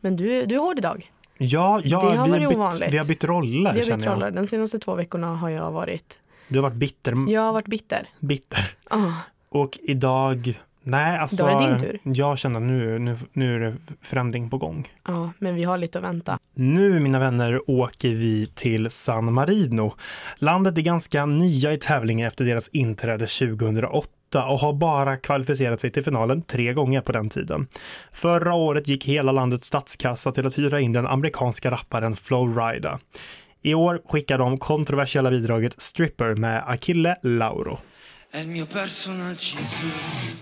[SPEAKER 2] Men du, du är hård idag.
[SPEAKER 3] Ja, ja
[SPEAKER 2] Det har
[SPEAKER 3] vi,
[SPEAKER 2] varit
[SPEAKER 3] har bytt,
[SPEAKER 2] ovanligt.
[SPEAKER 3] vi har bytt roller
[SPEAKER 2] Vi har
[SPEAKER 3] känner
[SPEAKER 2] bytt
[SPEAKER 3] jag.
[SPEAKER 2] roller. De senaste två veckorna har jag varit...
[SPEAKER 3] Du har varit bitter.
[SPEAKER 2] Jag har varit bitter.
[SPEAKER 3] bitter.
[SPEAKER 2] Ah,
[SPEAKER 3] Och idag, nej alltså.
[SPEAKER 2] Idag är det din tur.
[SPEAKER 3] Jag känner nu, nu, nu är det förändring på gång.
[SPEAKER 2] ja, men vi har lite att vänta.
[SPEAKER 3] Nu mina vänner åker vi till San Marino. Landet är ganska nya i tävlingen efter deras inträde 2008 och har bara kvalificerat sig till finalen tre gånger på den tiden. Förra året gick hela landets statskassa till att hyra in den amerikanska rapparen Flo Rida. I år skickar de kontroversiella bidraget Stripper med Achille Lauro.
[SPEAKER 6] È il mio personal Jesus.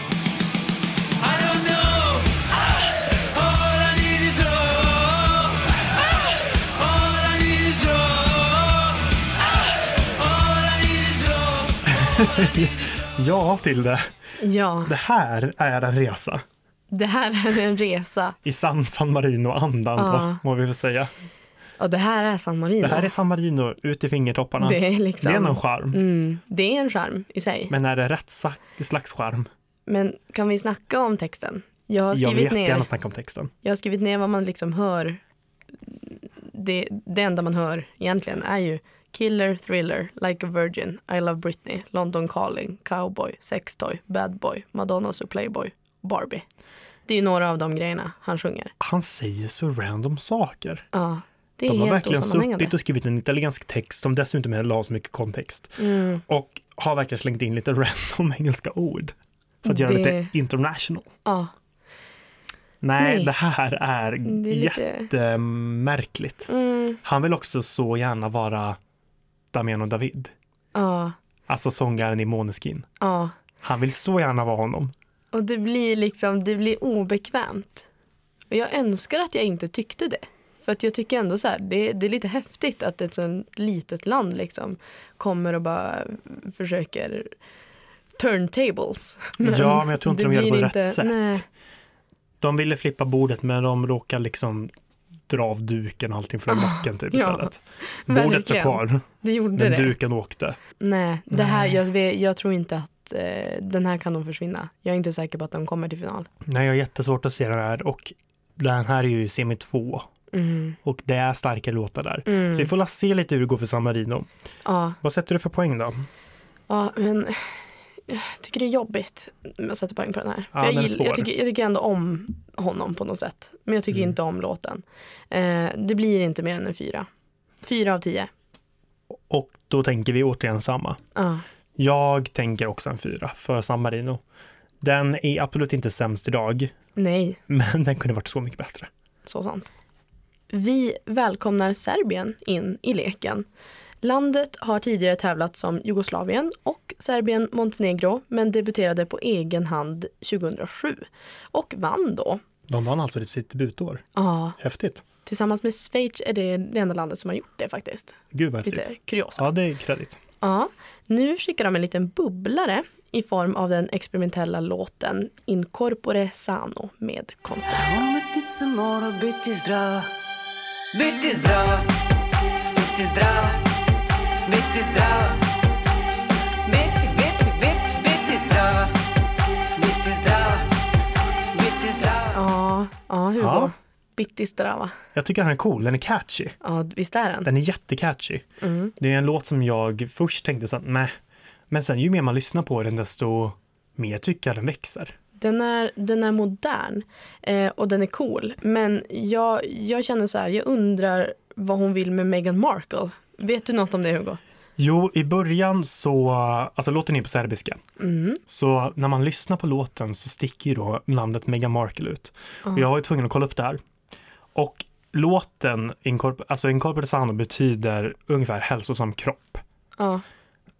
[SPEAKER 6] I don't know. Ah! All I need is love. Ah! All I need is love. Ah! All I need is love.
[SPEAKER 3] Ja, till det.
[SPEAKER 2] Ja,
[SPEAKER 3] Det här är en resa.
[SPEAKER 2] det här är en resa.
[SPEAKER 3] I sann San Marino-andan,
[SPEAKER 2] Ja.
[SPEAKER 3] då, må vi väl säga.
[SPEAKER 2] Och det här är San Marino.
[SPEAKER 3] Det här är San Marino, ut i fingertopparna.
[SPEAKER 2] Det är liksom-
[SPEAKER 3] Det är någon charm.
[SPEAKER 2] mm, det är en charm i sig.
[SPEAKER 3] Men är det rätt sa- slags charm?
[SPEAKER 2] Men kan vi snacka om texten? Jag har
[SPEAKER 3] Jag vill
[SPEAKER 2] skrivit
[SPEAKER 3] jättegärna
[SPEAKER 2] ner
[SPEAKER 3] snacka om texten.
[SPEAKER 2] Jag har skrivit ner vad man liksom hör. Det, det enda man hör egentligen är ju Killer, Thriller, Like a Virgin, I Love Britney, London Calling, Cowboy, Sextoy, Bad Boy, Madonna och Playboy, Barbie. Det är ju några av de grejerna han sjunger.
[SPEAKER 3] Han säger så random saker.
[SPEAKER 2] Ja, det är
[SPEAKER 3] De har
[SPEAKER 2] helt
[SPEAKER 3] verkligen
[SPEAKER 2] osammanhängande.
[SPEAKER 3] suttit och skrivit en italiensk text som dessutom la så mycket kontext.
[SPEAKER 2] Mm.
[SPEAKER 3] Och har verkligen slängt in lite [LAUGHS] random engelska ord. För att göra
[SPEAKER 2] Det-
[SPEAKER 3] lite international.
[SPEAKER 2] Ja,
[SPEAKER 3] Nej,
[SPEAKER 2] Nej.
[SPEAKER 3] det här är,
[SPEAKER 2] det är lite...
[SPEAKER 3] jättemärkligt.
[SPEAKER 2] Mm,
[SPEAKER 3] Han vill också så gärna vara Damiano David.
[SPEAKER 2] ja,
[SPEAKER 3] Alltså sångaren i Måneskin.
[SPEAKER 2] ja.
[SPEAKER 3] Han vill så gärna vara honom.
[SPEAKER 2] Och det blir liksom, det blir obekvämt. Och jag önskar att jag inte tyckte det. För att jag tycker ändå så här, det, det är lite häftigt att ett sånt litet land liksom kommer och bara försöker turntables.
[SPEAKER 3] Ja, men jag tror inte de gör det på
[SPEAKER 2] blir
[SPEAKER 3] rätt sätt.
[SPEAKER 2] Nej,
[SPEAKER 3] De ville flippa bordet men de råkade liksom dra av duken och allting från backen typ
[SPEAKER 2] Ah, ja, [LAUGHS]
[SPEAKER 3] istället. Bordet står
[SPEAKER 2] verkligen.
[SPEAKER 3] kvar,
[SPEAKER 2] det gjorde
[SPEAKER 3] men
[SPEAKER 2] det.
[SPEAKER 3] duken åkte.
[SPEAKER 2] Nej, det här, jag, vet- jag tror inte att eh, den här kan nog försvinna. Jag är inte säker på att de kommer till final.
[SPEAKER 3] Nej, jag har jättesvårt att se den här och den här är ju semi 2
[SPEAKER 2] Mm.
[SPEAKER 3] och det är starka låtar där. Så vi
[SPEAKER 2] Mm.
[SPEAKER 3] får la se lite hur det går för San Marino.
[SPEAKER 2] Ja,
[SPEAKER 3] Vad sätter du för poäng då?
[SPEAKER 2] Ja, men jag tycker det är jobbigt att sätta poäng på den här.
[SPEAKER 3] Ja,
[SPEAKER 2] För jag,
[SPEAKER 3] den är
[SPEAKER 2] gill, jag,
[SPEAKER 3] svår.
[SPEAKER 2] tycker, jag tycker ändå om honom på något sätt. Men jag tycker
[SPEAKER 3] Mm.
[SPEAKER 2] inte om låten. Eh, det blir inte mer än en fyra. Fyra av tio.
[SPEAKER 3] Och då tänker vi återigen samma.
[SPEAKER 2] Ja.
[SPEAKER 3] Jag tänker också en fyra för San Marino. Den är absolut inte sämst idag, [LAUGHS]
[SPEAKER 2] nej,
[SPEAKER 3] men den kunde varit så mycket bättre.
[SPEAKER 2] så sant. Vi välkomnar Serbien in i leken. Landet har tidigare tävlat som Jugoslavien och Serbien-Montenegro men debuterade på egen hand 2007 och vann då.
[SPEAKER 3] De vann alltså sitt debutår.
[SPEAKER 2] Ja,
[SPEAKER 3] Häftigt.
[SPEAKER 2] tillsammans med Schweiz är det det enda landet som har gjort det faktiskt.
[SPEAKER 3] Gud vad häftigt.
[SPEAKER 2] Lite kuriosa.
[SPEAKER 3] Ja, det är kredit.
[SPEAKER 2] Ja, nu skickar de en liten bubblare i form av den experimentella låten Incorpore Sano med konstnär.
[SPEAKER 7] Ometnica mora biti zdrava Biti zdrava Biti zdrava Biti zdrava Biti, biti, biti, biti zdrava Biti zdrava Biti zdrava
[SPEAKER 2] Ja, ja Hugo.
[SPEAKER 3] Ja.
[SPEAKER 2] Bitti Strava.
[SPEAKER 3] Jag tycker den är cool, den är catchy.
[SPEAKER 2] Ja, visst är den?
[SPEAKER 3] Den är jättecatchy.
[SPEAKER 2] Mm.
[SPEAKER 3] Det är en låt som jag först tänkte så att nej. Men sen ju mer man lyssnar på den desto mer tycker jag den växer.
[SPEAKER 2] Den är, den är modern eh, och den är cool. Men jag, jag känner så här, jag undrar vad hon vill med Meghan Markle. Vet du något om det Hugo?
[SPEAKER 3] Jo, i början så, alltså låten är på serbiska.
[SPEAKER 2] Mm.
[SPEAKER 3] Så när man lyssnar på låten så sticker ju då namnet Meghan Markle ut. Och jag var ju tvungen att kolla upp det här. Och låten, incorp- alltså Incorporate Sound betyder ungefär hälsosam kropp.
[SPEAKER 2] Ja,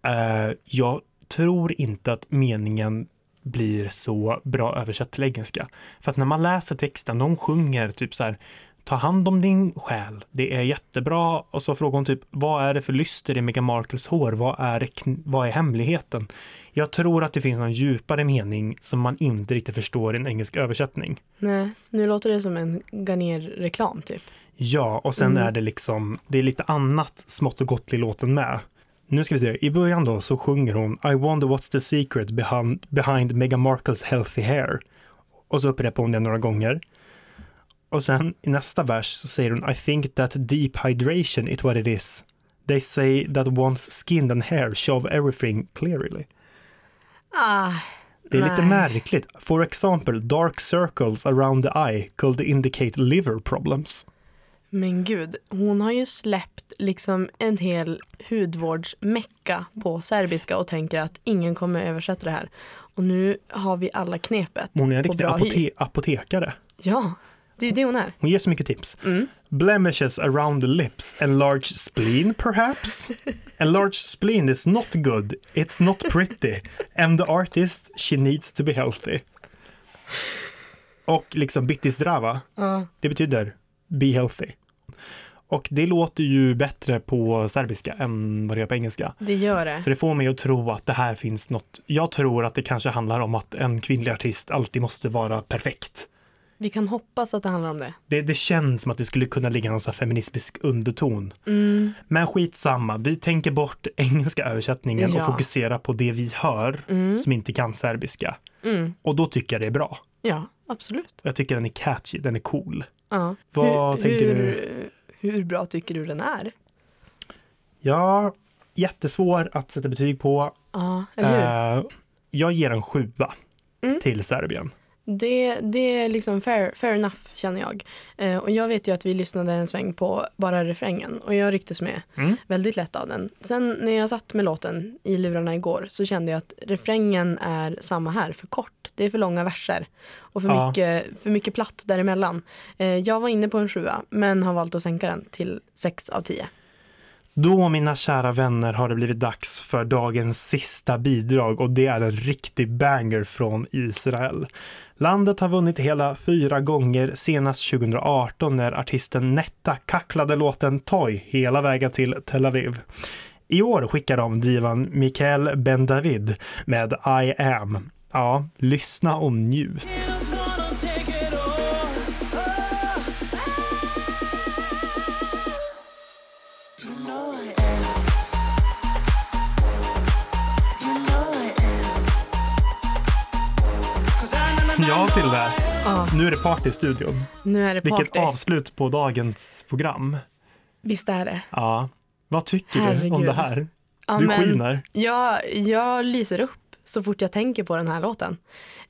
[SPEAKER 3] Eh, jag tror inte att meningen blir så bra översatt till engelska. För att när man läser texten, de sjunger typ så här ta hand om din själ, det är jättebra. Och så frågar hon typ, vad är det för lyster i Meghan Markles hår? Vad är, kn- vad är hemligheten? Jag tror att det finns någon djupare mening som man inte riktigt förstår i en engelsk översättning.
[SPEAKER 2] Nej, nu låter det som en Garnier-reklam typ.
[SPEAKER 3] Ja, och
[SPEAKER 2] Mm.
[SPEAKER 3] sen är det liksom, det är lite annat smått och gott i låten med. Nu ska vi se, i början då så sjunger hon I wonder what's the secret behind, behind Meghan Markles healthy hair. Och så upprepar hon det några gånger. Och sen i nästa vers så säger hon I think that deep hydration is what it is. They say that one's skin and hair show everything clearly.
[SPEAKER 2] Ah,
[SPEAKER 3] Det är lite
[SPEAKER 2] Nej.
[SPEAKER 3] märkligt. For example, dark circles around the eye could indicate liver problems.
[SPEAKER 2] men gud. Hon har ju släppt liksom en hel hudvårdsmecka på serbiska och tänker att ingen kommer översätta det här. Och nu har vi alla knepet.
[SPEAKER 3] Hon är en
[SPEAKER 2] på
[SPEAKER 3] riktig
[SPEAKER 2] bra hy.
[SPEAKER 3] apote- apotekare.
[SPEAKER 2] Ja, det är ju det hon är.
[SPEAKER 3] Hon ger så mycket tips. Blemishes around the lips, enlarged spleen perhaps? enlarged spleen is not good, it's not pretty. And the artist, she needs to be healthy. Och liksom bitti zdrava, det betyder be healthy. Och det låter ju bättre på serbiska än vad det gör på engelska.
[SPEAKER 2] Det gör det.
[SPEAKER 3] Så det får mig att tro att det här finns något. Jag tror att det kanske handlar om att en kvinnlig artist alltid måste vara perfekt.
[SPEAKER 2] Vi kan hoppas att det handlar om det.
[SPEAKER 3] Det, det känns som att det skulle kunna ligga någon sån här feministisk underton.
[SPEAKER 2] Mm.
[SPEAKER 3] Men skitsamma, vi tänker bort [LAUGHS] engelska översättningen
[SPEAKER 2] Ja. Mm.
[SPEAKER 3] och fokuserar på det vi hör som inte kan serbiska. Och då tycker jag det är bra.
[SPEAKER 2] Ja, absolut.
[SPEAKER 3] Och Jag tycker den är catchy, den är cool.
[SPEAKER 2] Ja.
[SPEAKER 3] Vad
[SPEAKER 2] hur,
[SPEAKER 3] tänker
[SPEAKER 2] hur,
[SPEAKER 3] du?
[SPEAKER 2] Hur bra tycker du den är?
[SPEAKER 3] Ja, jättesvår att sätta betyg på.
[SPEAKER 2] Ja, eller hur? Mm.
[SPEAKER 3] Eh, jag ger en sjua till Serbien.
[SPEAKER 2] Det, det är liksom fair, fair enough känner jag. Eh, och jag vet ju att vi lyssnade en sväng på bara refrängen och jag rycktes med
[SPEAKER 3] Mm.
[SPEAKER 2] väldigt lätt av den. Sen när jag satt med låten i lurarna igår så kände jag att refrängen är samma här, för kort. Det är för långa verser och för,
[SPEAKER 3] Ja.
[SPEAKER 2] mycket, för mycket platt däremellan. Eh, jag var inne på en sjua men har valt att sänka den till sex av tio.
[SPEAKER 3] Då mina kära vänner har det blivit dags för dagens sista bidrag och det är en riktig banger från Israel. Landet har vunnit hela fyra gånger, senast 2018 när artisten Netta kacklade låten Toy hela vägen till Tel Aviv. I år skickar de divan Mikael Ben-David med I am. Ja, lyssna och njut.
[SPEAKER 6] Just gonna take it all. You know I am. You know I am. 'Cause I know, know,
[SPEAKER 3] Ja, Tilde. Nu är det party i studion.
[SPEAKER 2] Nu är det
[SPEAKER 3] Vilket
[SPEAKER 2] party.
[SPEAKER 3] avslut på dagens program.
[SPEAKER 2] Visst är det.
[SPEAKER 3] Ja, vad tycker du om
[SPEAKER 2] Herregud.
[SPEAKER 3] det här?
[SPEAKER 2] Ja,
[SPEAKER 3] Du
[SPEAKER 2] men
[SPEAKER 3] skiner.
[SPEAKER 2] Jag, jag lyser upp så fort jag tänker på den här låten.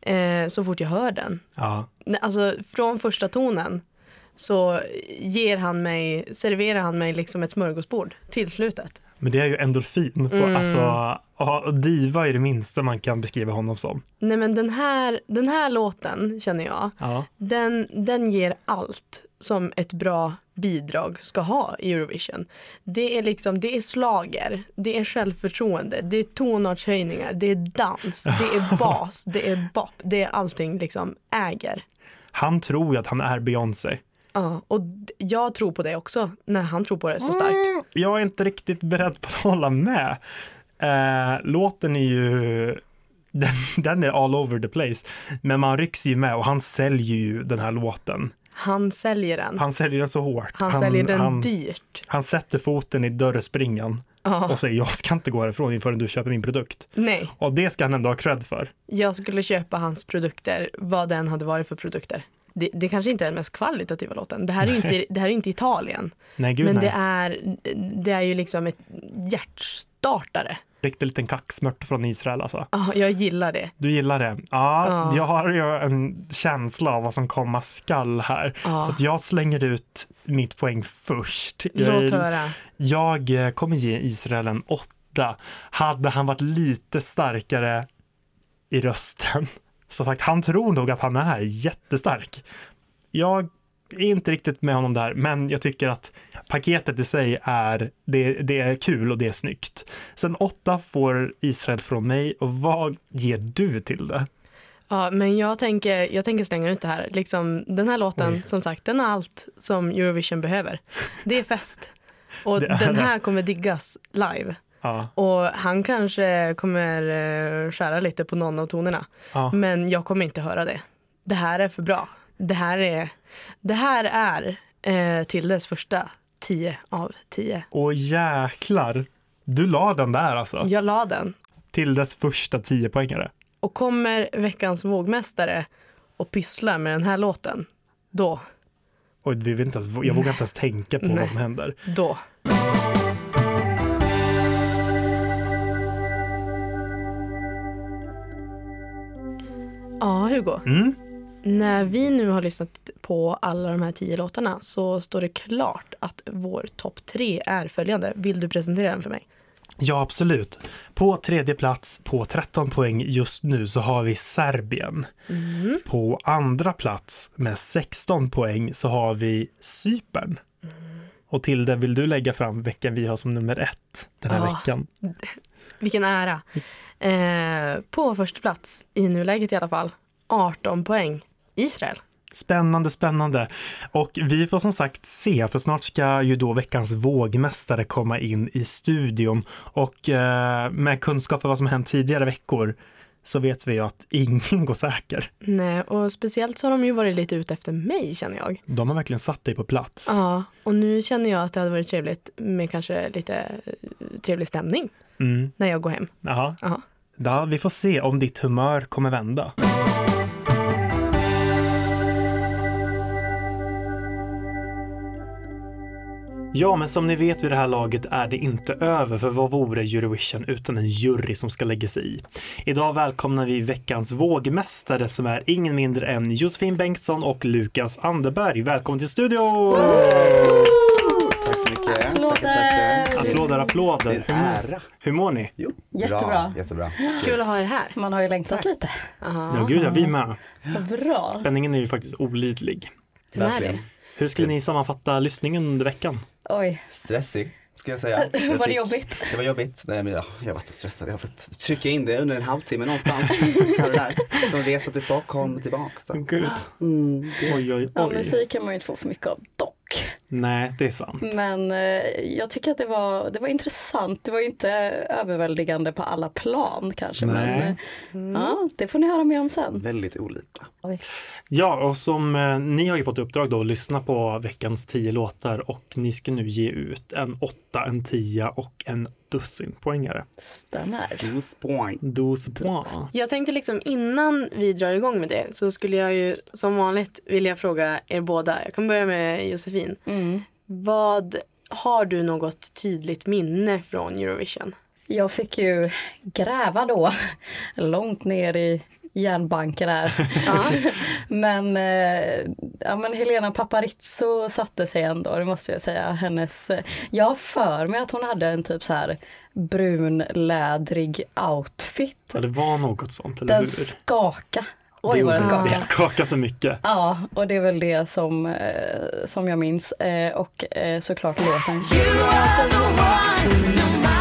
[SPEAKER 2] Eh, så fort jag hör den.
[SPEAKER 3] Ja.
[SPEAKER 2] Nej, Alltså från första tonen så ger han mig, serverar han mig liksom ett smörgåsbord till slutet.
[SPEAKER 3] Men det är ju endorfin. På,
[SPEAKER 2] Mm.
[SPEAKER 3] alltså, ja, och diva är det minsta man kan beskriva honom som.
[SPEAKER 2] Nej men den här, den här låten känner jag,
[SPEAKER 3] Ja.
[SPEAKER 2] den, den ger allt som ett bra bidrag ska ha i Eurovision. Det är liksom, det är slager, det är självförtroende, det är tonartshöjningar, det är dans, det är bas, det är bop, det är allting liksom äger.
[SPEAKER 3] Han tror ju att han är Beyoncé.
[SPEAKER 2] Ja, och d- jag tror på det också när han tror på det så starkt.
[SPEAKER 3] Jag är inte riktigt beredd på att hålla med. Eh, låten är ju... Den, [LAUGHS] den är all over the place. Men man rycks ju med och han säljer ju den här låten.
[SPEAKER 2] Han säljer den. Han,
[SPEAKER 3] Han säljer den så hårt.
[SPEAKER 2] säljer den
[SPEAKER 3] han,
[SPEAKER 2] dyrt.
[SPEAKER 3] han sätter foten i dörrspringan och säger jag ska inte gå härifrån förrän du köper min produkt.
[SPEAKER 2] Nej,
[SPEAKER 3] Och det ska han ändå ha cred för.
[SPEAKER 2] jag skulle köpa hans produkter, vad den hade varit för produkter. Det, det kanske inte är den mest kvalitativa låten. Det här är ju inte, det här är inte Italien.
[SPEAKER 3] Nej, gud
[SPEAKER 2] men
[SPEAKER 3] nej.
[SPEAKER 2] det är, det är ju liksom ett hjärtstartare.
[SPEAKER 3] Riktig liten kacksmört från Israel alltså.
[SPEAKER 2] Ja, jag gillar det.
[SPEAKER 3] Du gillar det? Ja, jag har ju en känsla av vad som komma skall här. Så att jag slänger ut mitt poäng först.
[SPEAKER 2] Låt
[SPEAKER 3] Jag-
[SPEAKER 2] höra.
[SPEAKER 3] jag eh, kommer ge Israel en åtta. Hade han varit lite starkare i rösten. [LAUGHS] Som sagt, han tror nog att han är jättestark. Jag är inte riktigt med honom där, men jag tycker att paketet i sig är, det, det är kul och det är snyggt. Sen åtta får Israel från mig och vad ger du till det?
[SPEAKER 2] Ja, men jag tänker, jag tänker slänga ut det här. Liksom, den här låten,
[SPEAKER 3] Oj.
[SPEAKER 2] som sagt, den är allt som Eurovision behöver. Det är fest. Och
[SPEAKER 3] Det är
[SPEAKER 2] den
[SPEAKER 3] det.
[SPEAKER 2] här kommer diggas live.
[SPEAKER 3] Ja,
[SPEAKER 2] Och han kanske kommer eh, skära lite på någon av tonerna.
[SPEAKER 3] ja.
[SPEAKER 2] Men jag kommer inte höra det. Det här är för bra. Det här är, det här är eh, Tildes första 10 av 10.
[SPEAKER 3] Och jäklar. Du la den där alltså.
[SPEAKER 2] Jag la den
[SPEAKER 3] Till dess första 10 poängare.
[SPEAKER 2] och kommer veckans vågmästare och pysslar med den här låten, då,
[SPEAKER 3] Och vi vet inte ens, jag vågar inte ens tänka på
[SPEAKER 2] Nej.
[SPEAKER 3] vad som händer.
[SPEAKER 2] då. Ja, Hugo.
[SPEAKER 3] Mm.
[SPEAKER 2] När vi nu har lyssnat på alla de här tio låtarna så står det klart att vår topp tre är följande. Vill du presentera den för mig?
[SPEAKER 3] Ja, absolut. På tredje plats på 13 poäng just nu så har vi Serbien.
[SPEAKER 2] Mm.
[SPEAKER 3] På andra plats med 16 poäng så har vi Cypern.
[SPEAKER 2] Mm.
[SPEAKER 3] Och Tilde, vill du lägga fram veckan vi har som nummer ett den här
[SPEAKER 2] Ja.
[SPEAKER 3] veckan?
[SPEAKER 2] Vilken ära. Eh, på första plats, i nuläget i alla fall, 18 poäng, Israel.
[SPEAKER 3] Spännande, spännande. Och vi får som sagt se, för snart ska ju då veckans vågmästare komma in i studion. Och eh, med kunskap om vad som hänt tidigare veckor så vet vi ju att ingen [LAUGHS] går säker.
[SPEAKER 2] Nej, och speciellt så har de ju varit lite ute efter mig känner jag.
[SPEAKER 3] De har verkligen satt dig på plats.
[SPEAKER 2] Ja, och nu känner jag att det hade varit trevligt med kanske lite eh, trevlig stämning
[SPEAKER 3] Mm.
[SPEAKER 2] när jag går hem.
[SPEAKER 3] Jaha.
[SPEAKER 2] Ja.
[SPEAKER 3] Ja, vi får se om ditt humör kommer vända. Ja, men som ni vet vid det här laget är det inte över, för vad vore Eurovision utan en jury som ska lägga sig i? Idag välkomnar vi veckans vågmästare som är ingen mindre än Josefin Bengtsson och Lukas Anderberg. Välkommen till studion!
[SPEAKER 8] Tack så mycket.
[SPEAKER 9] Applåder!
[SPEAKER 8] Tackar, tackar.
[SPEAKER 3] Applåder, applåder!
[SPEAKER 8] Det är en ära.
[SPEAKER 3] Hur mår ni?
[SPEAKER 8] Jo.
[SPEAKER 9] Jättebra.
[SPEAKER 8] Bra, jättebra.
[SPEAKER 2] Kul att ha er här.
[SPEAKER 9] Man har ju längtat lite.
[SPEAKER 3] Ja, gud ja, vi med.
[SPEAKER 9] Vad bra.
[SPEAKER 3] Spänningen är ju faktiskt olidlig.
[SPEAKER 2] Den är
[SPEAKER 8] Verkligen.
[SPEAKER 2] det.
[SPEAKER 3] Hur skulle ni sammanfatta lyssningen under veckan?
[SPEAKER 9] Oj,
[SPEAKER 8] Stressig, ska jag säga. Jag
[SPEAKER 9] [LAUGHS] Var det jobbigt?
[SPEAKER 8] Det var jobbigt. Nej, men jag, jag var så stressad. Jag har fått trycka in det under en halvtimme någonstans. [LAUGHS] Här och där. Från resa till Stockholm och tillbaka. Så.
[SPEAKER 3] Gud.
[SPEAKER 8] Mm.
[SPEAKER 3] Oj, oj,
[SPEAKER 9] ja,
[SPEAKER 3] oj.
[SPEAKER 9] musik kan man ju inte få för mycket av dock.
[SPEAKER 3] Nej, det är sant.
[SPEAKER 9] Men eh, jag tycker att det var, det var intressant. Det var inte överväldigande på alla plan kanske. Men,
[SPEAKER 3] Nej.
[SPEAKER 9] eh, ja, det får ni höra mer om sen.
[SPEAKER 8] Väldigt olika.
[SPEAKER 9] Oj.
[SPEAKER 3] Ja, och som eh, ni har ju fått i uppdrag då att lyssna på veckans tio låtar och ni ska nu ge ut en åtta, en tia och en dussin poängare.
[SPEAKER 9] Stämmer.
[SPEAKER 8] Loose point.
[SPEAKER 3] Dos poäng.
[SPEAKER 2] Jag tänkte liksom innan vi drar igång med det så skulle jag ju som vanligt vilja fråga er båda. Jag kan börja med Josefin.
[SPEAKER 9] Mm.
[SPEAKER 2] Vad har du något tydligt minne från Eurovision?
[SPEAKER 9] Jag fick ju gräva då, långt ner i järnbanken [LAUGHS] här. men, eh, ja, men Helena Paparizou satte sig ändå, det måste jag säga. Hennes, eh, jag har för mig att hon hade en typ så här brun lädrig outfit.
[SPEAKER 3] Ja, det var något sånt, eller
[SPEAKER 9] Den
[SPEAKER 3] hur?
[SPEAKER 9] skaka. Oj
[SPEAKER 3] Det
[SPEAKER 9] vad den
[SPEAKER 3] gjorde-
[SPEAKER 9] skaka.
[SPEAKER 3] Det skakar så mycket.
[SPEAKER 9] Ja, och det är väl det som, eh, som jag minns. Eh, och eh, såklart låten.
[SPEAKER 2] [LAUGHS]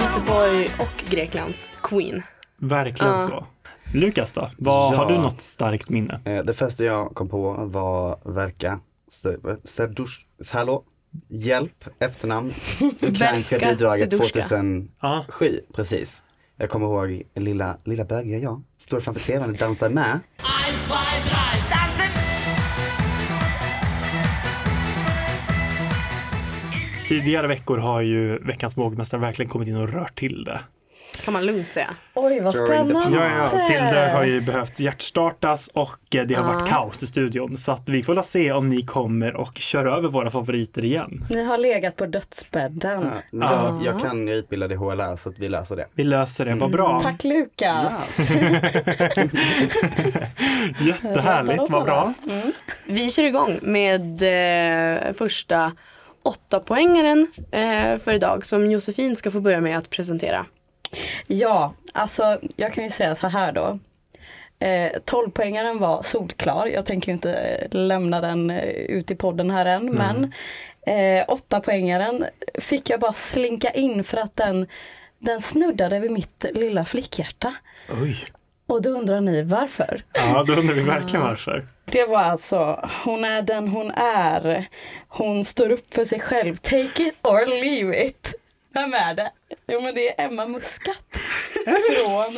[SPEAKER 2] Göteborg och Greklands Queen.
[SPEAKER 3] Verkligen så. Lukas då? Vad,
[SPEAKER 8] Ja.
[SPEAKER 3] Har du något starkt minne?
[SPEAKER 8] Eh, Det första jag kom på var Verka Serdush... Hallå? Hjälp, efternamn. Ukrainska
[SPEAKER 2] Verka
[SPEAKER 8] bidraget
[SPEAKER 2] Sedushka.
[SPEAKER 8] 2007.
[SPEAKER 3] Ja.
[SPEAKER 8] Precis. Jag kommer ihåg lilla, lilla bögiga jag. Står framför tvn och dansar med.
[SPEAKER 3] Tidigare veckor har ju veckans vågmästare verkligen kommit in och rört till det.
[SPEAKER 2] Kan man lugnt säga.
[SPEAKER 9] Oj vad
[SPEAKER 8] Stirring the pot.
[SPEAKER 9] spännande.
[SPEAKER 3] Ja, ja, ja. Tilde har ju behövt hjärtstartas och eh, det har varit kaos i studion. Så att vi får väl se om ni kommer och kör över våra favoriter igen.
[SPEAKER 9] Ni har legat på dödsbädden.
[SPEAKER 8] Ja, men jag, jag kan jag är utbildad i HLR så att vi löser det.
[SPEAKER 3] Vi löser det, vad bra.
[SPEAKER 9] Mm, Tack Lukas.
[SPEAKER 3] Jättehärligt, vad bra.
[SPEAKER 2] Vi kör igång med eh, första åtta poängaren eh, för idag som Josefin ska få börja med att presentera.
[SPEAKER 9] Ja, alltså jag kan ju säga så här då. Eh, 12-poängaren var solklar. Jag tänker ju inte eh, lämna den eh, ut i podden här än.
[SPEAKER 3] Mm.
[SPEAKER 9] Men eh, 8-poängaren fick jag bara slinka in för att den, den snuddade vid mitt lilla flickhjärta.
[SPEAKER 3] Oj.
[SPEAKER 9] Och då undrar ni varför?
[SPEAKER 3] Ja, då undrar vi verkligen varför.
[SPEAKER 9] Det var alltså, hon är den hon är. Hon står upp för sig själv. Take it or leave it. Vem är det? Jo men det är Emma [LAUGHS] Muscat.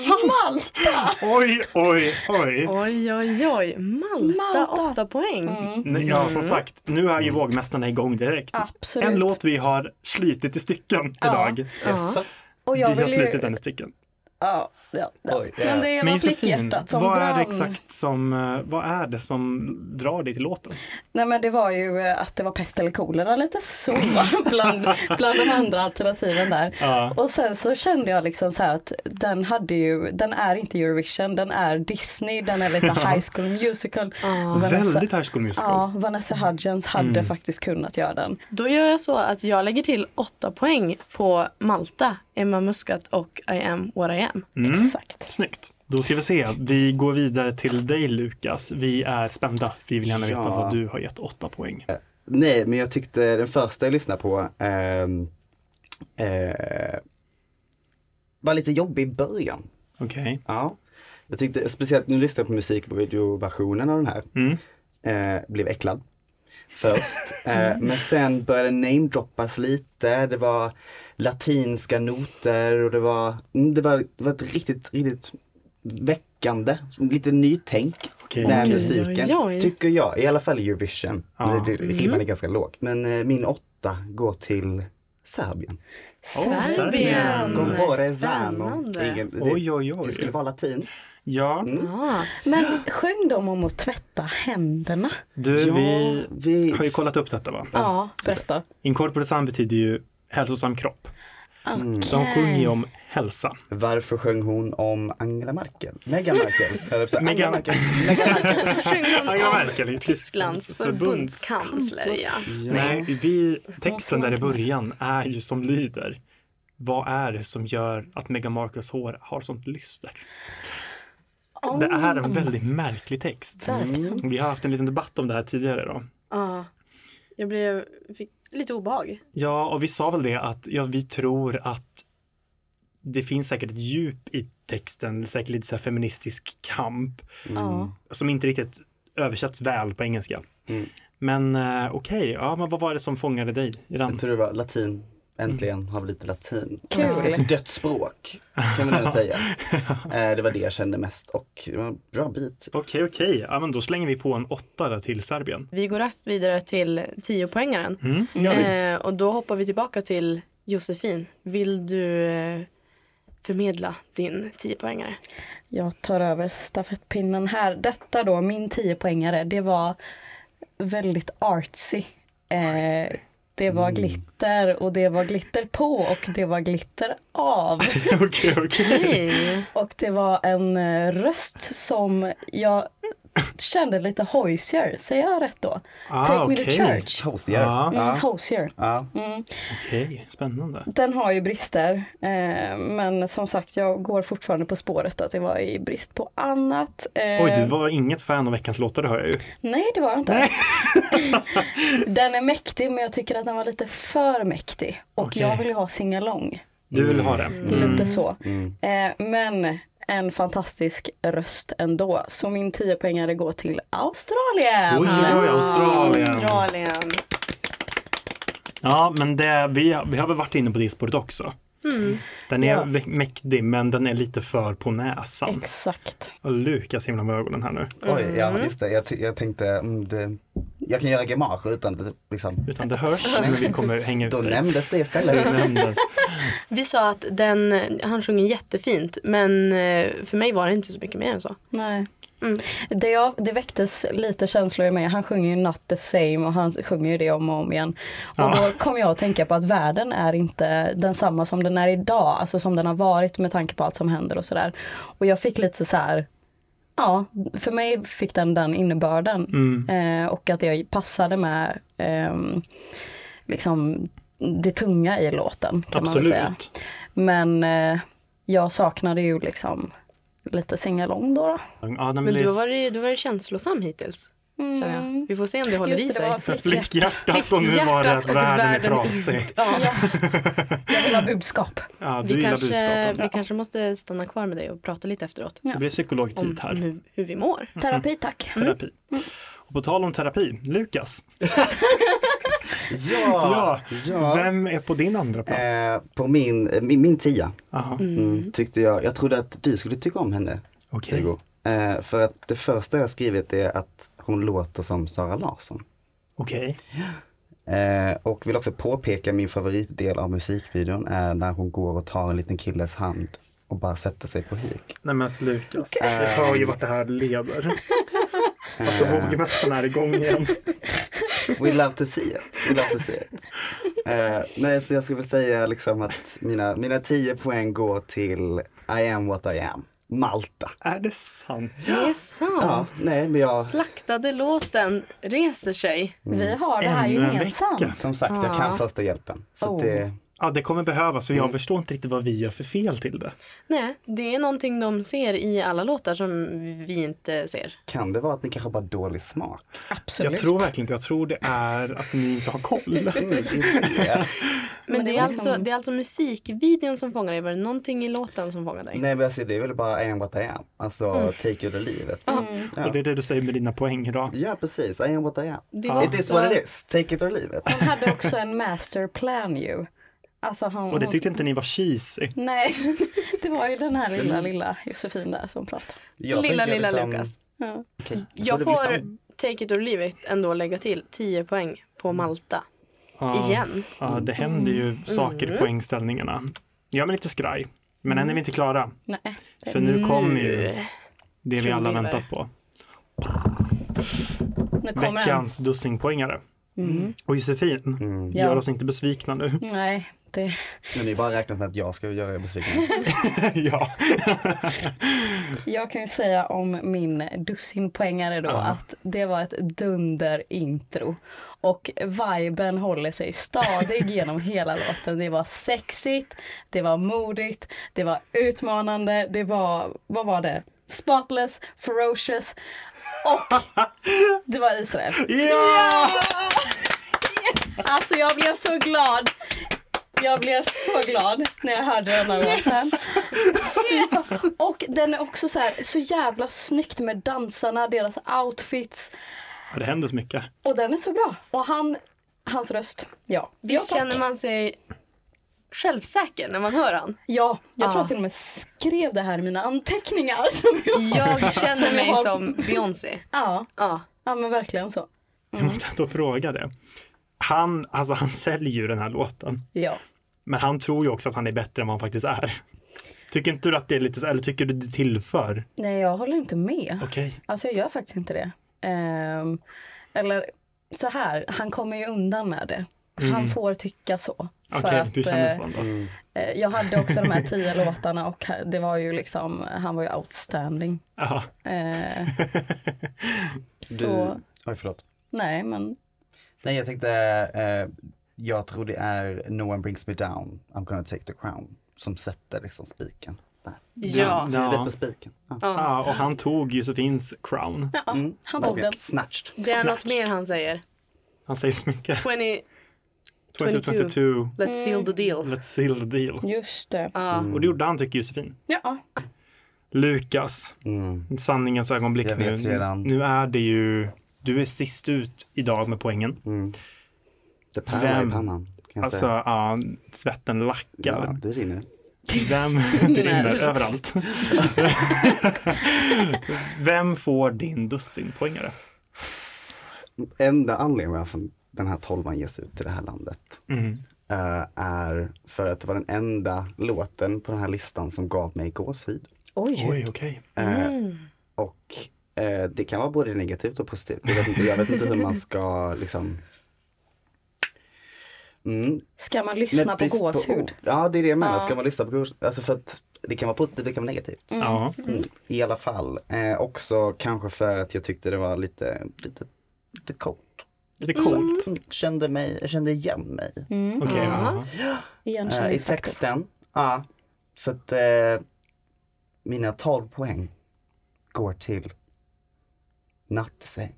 [SPEAKER 9] Från Malta.
[SPEAKER 3] Oj, oj, oj.
[SPEAKER 2] Oj, oj, oj. Malta,
[SPEAKER 9] Malta.
[SPEAKER 2] åtta poäng.
[SPEAKER 3] Nej, Ja, som sagt, nu är ju vågmästarna igång direkt.
[SPEAKER 9] Mm. Absolut.
[SPEAKER 3] En låt vi har slitit i stycken
[SPEAKER 9] Ja.
[SPEAKER 3] idag.
[SPEAKER 8] Jaså?
[SPEAKER 9] Och
[SPEAKER 3] Vi
[SPEAKER 9] jag
[SPEAKER 3] har
[SPEAKER 9] vill ju...
[SPEAKER 3] slitit den i stycken.
[SPEAKER 9] Ja, ja, ja.
[SPEAKER 8] Oj,
[SPEAKER 9] Men det
[SPEAKER 3] Men
[SPEAKER 9] var
[SPEAKER 3] Josefin,
[SPEAKER 9] flickhjärtat som
[SPEAKER 3] vad är
[SPEAKER 9] brann.
[SPEAKER 3] det exakt som, eh, vad är det som drar dig till låten?
[SPEAKER 9] Nej men det var ju eh, att det var pest eller kolera lite så [LAUGHS] bland, bland de andra alternativen där.
[SPEAKER 3] Ja.
[SPEAKER 9] Och sen så kände jag liksom så här att den hade ju, den är inte Eurovision, den är Disney, den
[SPEAKER 3] [LAUGHS]
[SPEAKER 9] är lite High School Musical. Vanessa-
[SPEAKER 3] Väldigt High School Musical. Mm.
[SPEAKER 9] Ja, Vanessa Hudgens hade faktiskt kunnat göra den.
[SPEAKER 2] Då gör jag så att jag lägger till åtta poäng på Malta, Emma Muscat och I am what I am.
[SPEAKER 9] Mm.
[SPEAKER 3] Mm.
[SPEAKER 9] Exakt.
[SPEAKER 3] Snyggt. Då ska vi se. Vi går vidare till dig Lukas. Vi är spända. Vi vill gärna veta
[SPEAKER 8] Ja.
[SPEAKER 3] vad du har gett åtta poäng.
[SPEAKER 8] Nej, men jag tyckte den första jag lyssnade på ehm, eh, var lite jobbig i början.
[SPEAKER 3] Okej.
[SPEAKER 8] Ja. Jag tyckte, speciellt när jag lyssnade på musikvideoversionen av den här,
[SPEAKER 3] Mm.
[SPEAKER 8] eh, blev äcklad
[SPEAKER 3] [LAUGHS]
[SPEAKER 8] först. Eh, men sen började den namedroppas lite, det var latinska noter och det var, mm, det var, det var ett riktigt, riktigt väckande, lite nytänk
[SPEAKER 3] Okej.
[SPEAKER 8] med
[SPEAKER 2] Oj,
[SPEAKER 8] musiken.
[SPEAKER 2] oj, oj.
[SPEAKER 8] Tycker jag, i alla fall i Eurovision.
[SPEAKER 3] Ja. Mm.
[SPEAKER 8] Det, det, ribban är ganska låg. Men eh, min åtta går till Serbien.
[SPEAKER 3] Serbien.
[SPEAKER 8] Govore Zano.
[SPEAKER 2] Spännande.
[SPEAKER 8] Ingen- Det,
[SPEAKER 3] Oj, oj, oj.
[SPEAKER 8] det skulle vara Mm. latin.
[SPEAKER 3] Ja,
[SPEAKER 2] Ah,
[SPEAKER 9] Men sjöng de om att tvätta händerna?
[SPEAKER 3] du, vi
[SPEAKER 8] vi
[SPEAKER 3] har ju kollat upp detta va?
[SPEAKER 9] Ja, berätta.
[SPEAKER 3] Incorporesan betyder ju hälsosam kropp.
[SPEAKER 9] Okej.
[SPEAKER 3] Mm, De sjunger ju om hälsa.
[SPEAKER 9] Mm.
[SPEAKER 8] Varför sjöng hon om Angela Merkel? Meghan Merkel? [LAUGHS] Jag höll på att säga Angela
[SPEAKER 3] Megan-
[SPEAKER 8] Merkel.
[SPEAKER 3] Angela Merkel är
[SPEAKER 2] Tysklands förbundskansler, ja.
[SPEAKER 3] Nej, vi, texten där i början är ju som lyder. Vad är det som gör att Meghan Markles hår har sånt lyster? Det är en väldigt märklig text.
[SPEAKER 9] Verkligen.
[SPEAKER 3] Vi har haft en liten debatt om det här tidigare då.
[SPEAKER 2] Ah, jag blev fick lite obehag.
[SPEAKER 3] Ja, och vi sa väl det att ja, vi tror att det finns säkert ett djup i texten, säkert lite så här feministisk kamp
[SPEAKER 9] Ja.
[SPEAKER 3] som inte riktigt översätts väl på engelska.
[SPEAKER 8] Mm.
[SPEAKER 3] Men eh, okej, ja, men vad var det som fångade dig i den?
[SPEAKER 8] Jag tror det var latin. Äntligen har vi lite latin.
[SPEAKER 9] Kul.
[SPEAKER 8] Ett dött språk kan man väl säga. Eh, Det var det jag kände mest och det var en bra bit.
[SPEAKER 3] Okej, okej. Ja, men då slänger vi på en åtta där till Serbien.
[SPEAKER 2] Vi går raskt vidare till tiopoängaren.
[SPEAKER 3] Mm, gör vi.
[SPEAKER 2] Eh, och då hoppar vi tillbaka till Josefin. Vill du eh, förmedla din tiopoängare?
[SPEAKER 9] Jag tar över stafettpinnen här. Detta då, min 10-poängare, det var väldigt artsy. Eh, det
[SPEAKER 3] Mm.
[SPEAKER 9] var glitter och det var glitter på och det var glitter av.
[SPEAKER 3] [LAUGHS] Okej, okej.
[SPEAKER 2] Hej!
[SPEAKER 9] Och det var en eh, röst som jag kände lite hosier, säger jag rätt då?
[SPEAKER 3] Ah,
[SPEAKER 9] Take me to
[SPEAKER 3] okej.
[SPEAKER 9] church.
[SPEAKER 8] Hosier.
[SPEAKER 3] Ja,
[SPEAKER 9] Mm, Hosier.
[SPEAKER 8] Ja.
[SPEAKER 3] okej. Spännande.
[SPEAKER 9] Den har ju brister, eh, men som sagt jag går fortfarande på spåret att det var i brist på annat. Eh,
[SPEAKER 3] Oj, du var inget fan av veckans låtar, det hör jag ju.
[SPEAKER 9] Nej, det var jag inte. [LAUGHS] den är mäktig, men jag tycker att den var lite för mäktig. Och
[SPEAKER 3] Okej.
[SPEAKER 9] jag vill ju ha singalong,
[SPEAKER 3] Du vill ha det.
[SPEAKER 9] Mm.
[SPEAKER 3] Mm.
[SPEAKER 9] lite så. Eh, men en fantastisk röst ändå. Så min 10-poängare går till Australien.
[SPEAKER 3] Oj, oj, oj, Australien.
[SPEAKER 2] Australien.
[SPEAKER 3] Ja, men det, vi, vi har väl varit inne på det spåret också. Den är
[SPEAKER 9] Ja.
[SPEAKER 3] vä- mäktig, men den är lite för på näsan.
[SPEAKER 9] Exakt.
[SPEAKER 3] Och Lukas himlar med ögonen här nu.
[SPEAKER 8] Oj, ja just det. Jag, ty- jag tänkte, mm, det, jag kan göra grimaser utan det, liksom.
[SPEAKER 3] Utan det hörs, men vi kommer hänga ut
[SPEAKER 8] Då
[SPEAKER 3] dig.
[SPEAKER 8] nämndes det [LAUGHS]
[SPEAKER 3] Det
[SPEAKER 8] istället.
[SPEAKER 3] nämndes.
[SPEAKER 2] Vi sa att den, han sjunger jättefint men eh, för mig var det inte så mycket mer än så.
[SPEAKER 9] Nej.
[SPEAKER 2] Mm.
[SPEAKER 9] Det, jag, det väcktes lite känslor i mig. Han sjunger ju Not the same och han sjunger ju det om och om igen. Och
[SPEAKER 3] Ja.
[SPEAKER 9] då kom jag att tänka på att världen är inte densamma som den är idag. Alltså som den har varit med tanke på allt som händer och sådär. Och jag fick lite så här. Ja, för mig fick den den innebörden.
[SPEAKER 3] Mm.
[SPEAKER 9] Eh, och att det passade med ehm, liksom det tunga i låten. Kan Man väl säga.
[SPEAKER 3] Absolut.
[SPEAKER 9] Men eh, jag saknade ju liksom lite singalong då. då.
[SPEAKER 3] Ja, nej, men
[SPEAKER 2] Men
[SPEAKER 3] det är
[SPEAKER 2] du har varit, du har varit känslosam hittills. känner jag. Vi får se om det håller i
[SPEAKER 9] Mm. Just det, det
[SPEAKER 2] sig.
[SPEAKER 9] var flicka.
[SPEAKER 3] Flickhjärtat och nu var det att
[SPEAKER 2] Flickhjärtat och
[SPEAKER 3] världen är
[SPEAKER 2] världen
[SPEAKER 3] trasig.
[SPEAKER 9] Ja. Jag vill ha budskap.
[SPEAKER 3] Ja, du
[SPEAKER 2] Vi
[SPEAKER 3] gillar
[SPEAKER 2] kanske,
[SPEAKER 3] budskapen.
[SPEAKER 2] vi kanske måste stanna kvar med dig och prata lite efteråt.
[SPEAKER 3] Det blir
[SPEAKER 2] Om Mm.
[SPEAKER 3] psykologtid Mm. här.
[SPEAKER 2] hur, hur vi mår.
[SPEAKER 9] Terapi tack.
[SPEAKER 3] Terapi. Och på tal om terapi, Lukas,
[SPEAKER 8] Ja! ja.
[SPEAKER 3] vem är på din andra plats?
[SPEAKER 8] Eh, på min, eh, min, min tia
[SPEAKER 3] Aha,
[SPEAKER 8] mm, tyckte jag, jag trodde att du skulle tycka om henne
[SPEAKER 3] okej.
[SPEAKER 8] Hugo. Eh, för att det första jag skrivit är att hon låter som Sara Larsson.
[SPEAKER 3] Okej.
[SPEAKER 8] Eh, och vill också påpeka min favoritdel av musikvideon är när hon går och tar en liten killes hand och bara sätter sig på huk.
[SPEAKER 3] Nej men alltså Lukas, jag hör ju vart det här leder. Alltså vågmästaren är igång igen.
[SPEAKER 8] We love to see it. We love to see it. Eh, nej, så jag skulle väl säga liksom att mina, mina 10 poäng går till I am what I am. Malta.
[SPEAKER 3] Är det sant?
[SPEAKER 2] Det är sant.
[SPEAKER 8] Ja, nej men jag,
[SPEAKER 2] Slaktade låten reser sig.
[SPEAKER 9] Mm. Vi har det här
[SPEAKER 3] Ännu en
[SPEAKER 9] gemensamt.
[SPEAKER 3] vecka.
[SPEAKER 8] som sagt jag kan första hjälpen. Så
[SPEAKER 9] Oh.
[SPEAKER 8] det,
[SPEAKER 3] Ja, det kommer behövas och jag förstår inte riktigt vad vi gör för fel till det.
[SPEAKER 2] Nej, det är någonting de ser i alla låtar som vi inte ser.
[SPEAKER 8] kan det vara att ni kanske har bara dålig smak?
[SPEAKER 9] Absolut.
[SPEAKER 3] Jag tror verkligen inte, jag tror det är att ni inte har koll.
[SPEAKER 2] Men, det,
[SPEAKER 9] det
[SPEAKER 2] är
[SPEAKER 9] var
[SPEAKER 2] alltså,
[SPEAKER 9] liksom-
[SPEAKER 2] det är alltså musikvideon som fångar dig. Var det någonting i låten som fångade dig?
[SPEAKER 8] Nej men alltså det är väl bara I am what I am. Alltså
[SPEAKER 2] Mm.
[SPEAKER 8] take you to livet.
[SPEAKER 3] Och det är det du säger med dina poäng idag.
[SPEAKER 8] Ja precis, I am what I am.
[SPEAKER 2] Det var
[SPEAKER 8] It is what it is, take it or leave it.
[SPEAKER 9] Han hade också en masterplan ju. Alltså han,
[SPEAKER 3] Och det
[SPEAKER 9] hon-
[SPEAKER 3] tyckte inte ni var cheesy.
[SPEAKER 9] Nej, [LAUGHS] det var ju den här lilla, lilla Josefin där som pratade.
[SPEAKER 8] Jag
[SPEAKER 2] lilla,
[SPEAKER 8] tänker
[SPEAKER 2] lilla
[SPEAKER 8] liksom-
[SPEAKER 2] Lukas.
[SPEAKER 9] Ja.
[SPEAKER 8] Okej,
[SPEAKER 2] Jag
[SPEAKER 8] det blir
[SPEAKER 2] får
[SPEAKER 8] spännande.
[SPEAKER 2] Take it or leave it ändå lägga till 10 poäng på Malta.
[SPEAKER 3] Ja,
[SPEAKER 2] Igen.
[SPEAKER 3] Ja, det händer
[SPEAKER 9] Mm.
[SPEAKER 3] ju saker i poängställningarna. Jag är lite skraj, men än är vi inte klara.
[SPEAKER 9] Nej, det
[SPEAKER 3] För nu kommer ju
[SPEAKER 2] Nu.
[SPEAKER 3] det vi alla
[SPEAKER 2] Trumvirvel.
[SPEAKER 3] väntat på.
[SPEAKER 9] nu kommer den. Mm.
[SPEAKER 3] Veckans dussinpoängare. Och Josefin, gör
[SPEAKER 9] Ja.
[SPEAKER 3] oss inte besvikna nu.
[SPEAKER 9] Nej, det,
[SPEAKER 8] Men ni har bara räknat med att jag ska göra
[SPEAKER 2] [LAUGHS]
[SPEAKER 8] er besvikna.
[SPEAKER 3] ja.
[SPEAKER 9] jag kan ju säga om min dussinpoängare då att det var ett dunder intro. Och viben håller sig stadig genom hela låten. Det var sexigt, det var modigt, det var utmanande, det var, vad var det? Spotless, ferocious och det var Israel.
[SPEAKER 3] ja!
[SPEAKER 9] Alltså jag blev så glad. Jag blev så glad när jag hörde den här låten. Fy fan. Och den är också så här så jävla snyggt med dansarna, deras outfits.
[SPEAKER 3] Det händer så mycket.
[SPEAKER 9] Och den är så bra. Och han, hans röst. Ja, ja,
[SPEAKER 2] Visst
[SPEAKER 9] tack.
[SPEAKER 2] känner man sig självsäker när man hör han?
[SPEAKER 9] ja jag tror
[SPEAKER 2] Ja.
[SPEAKER 9] jag till och med skrev det här i mina anteckningar. [LAUGHS] Som jag...
[SPEAKER 2] Jag [LAUGHS] känner
[SPEAKER 9] Som jag
[SPEAKER 2] mig
[SPEAKER 9] har-
[SPEAKER 2] som Beyoncé.
[SPEAKER 9] ja,
[SPEAKER 2] Ja.
[SPEAKER 9] ja, men verkligen så.
[SPEAKER 3] Jag måste ändå fråga det. Han, alltså han säljer ju den här låten,
[SPEAKER 9] Ja.
[SPEAKER 3] men han tror ju också att han är bättre än vad han faktiskt är. Tycker inte du att det är lite, så- eller tycker du det tillför?
[SPEAKER 9] Nej, jag håller inte med.
[SPEAKER 3] Okej.
[SPEAKER 9] Alltså jag gör faktiskt inte det. Ehm, eller så här, han kommer ju undan med det. Han
[SPEAKER 8] Mm.
[SPEAKER 9] får tycka så. För
[SPEAKER 3] Okej,
[SPEAKER 9] att,
[SPEAKER 3] du känner
[SPEAKER 9] eh,
[SPEAKER 3] så ändå.
[SPEAKER 9] eh, Jag hade också de här tio [LAUGHS] låtarna och ha- det var ju liksom, han var ju outstanding.
[SPEAKER 3] Ja.
[SPEAKER 9] Eh, så,
[SPEAKER 8] Du... Oj förlåt.
[SPEAKER 9] nej men,
[SPEAKER 8] Nej jag tänkte, eh, jag tror det är No one brings me down, I'm gonna take the crown. Som sätter liksom spiken. Där.
[SPEAKER 2] Ja.
[SPEAKER 3] Ja.
[SPEAKER 8] Huvudet på spiken. Ja.
[SPEAKER 3] ja, Ah, och han tog Josefins crown.
[SPEAKER 9] ja,
[SPEAKER 8] Mm.
[SPEAKER 9] han tog den.
[SPEAKER 8] Verkligen. Snatched.
[SPEAKER 2] Det är något mer han säger.
[SPEAKER 3] Han säger så mycket.
[SPEAKER 2] 20,
[SPEAKER 3] 2022,
[SPEAKER 2] let's seal the deal.
[SPEAKER 3] let's seal the deal.
[SPEAKER 9] Just det.
[SPEAKER 3] Och det gjorde han tycker Josefin.
[SPEAKER 9] Ja,
[SPEAKER 3] Lukas,
[SPEAKER 8] Mm.
[SPEAKER 3] sanningens ögonblick
[SPEAKER 8] Jag
[SPEAKER 3] nu.
[SPEAKER 8] vet redan.
[SPEAKER 3] Nu är det ju, du är sist ut idag med poängen.
[SPEAKER 8] Det pärlar
[SPEAKER 3] Vem?
[SPEAKER 8] i pannan. Kan jag
[SPEAKER 3] Alltså,
[SPEAKER 8] säga.
[SPEAKER 3] ja, svetten
[SPEAKER 8] Ja,
[SPEAKER 3] lackar.
[SPEAKER 8] det rinner.
[SPEAKER 3] [LAUGHS] Vem, det rinner [LAUGHS] överallt. Vem får din dussinpoängare?
[SPEAKER 8] enda anledningen varför den här tolvan ges ut till det här landet
[SPEAKER 3] Mm.
[SPEAKER 8] eh, är för att det var den enda låten på den här listan som gav mig gåshud.
[SPEAKER 3] Oj, okej.
[SPEAKER 8] Eh,
[SPEAKER 9] Mm.
[SPEAKER 8] Och eh, det kan vara både negativt och positivt. Jag vet inte, jag vet inte hur man ska liksom Mm.
[SPEAKER 9] ska man
[SPEAKER 8] men
[SPEAKER 9] lyssna på
[SPEAKER 8] brist
[SPEAKER 9] gåshud?
[SPEAKER 8] ord. Ja, det är det jag menar.
[SPEAKER 9] Ja.
[SPEAKER 8] Ska man lyssna på gåshud? Alltså för att det kan vara positivt, det kan vara negativt.
[SPEAKER 3] Ja.
[SPEAKER 8] Mm. I alla fall. Eh, också kanske för att jag tyckte det var lite, lite, lite coolt.
[SPEAKER 3] Lite coolt.
[SPEAKER 8] Mm, Kände, mig, jag kände igen mig
[SPEAKER 3] Okej, Mm. ja.
[SPEAKER 8] eh, i
[SPEAKER 9] Igenkänningsfaktor.
[SPEAKER 8] texten. Ja. Så att eh, mina 12 poäng går till Nattsäng.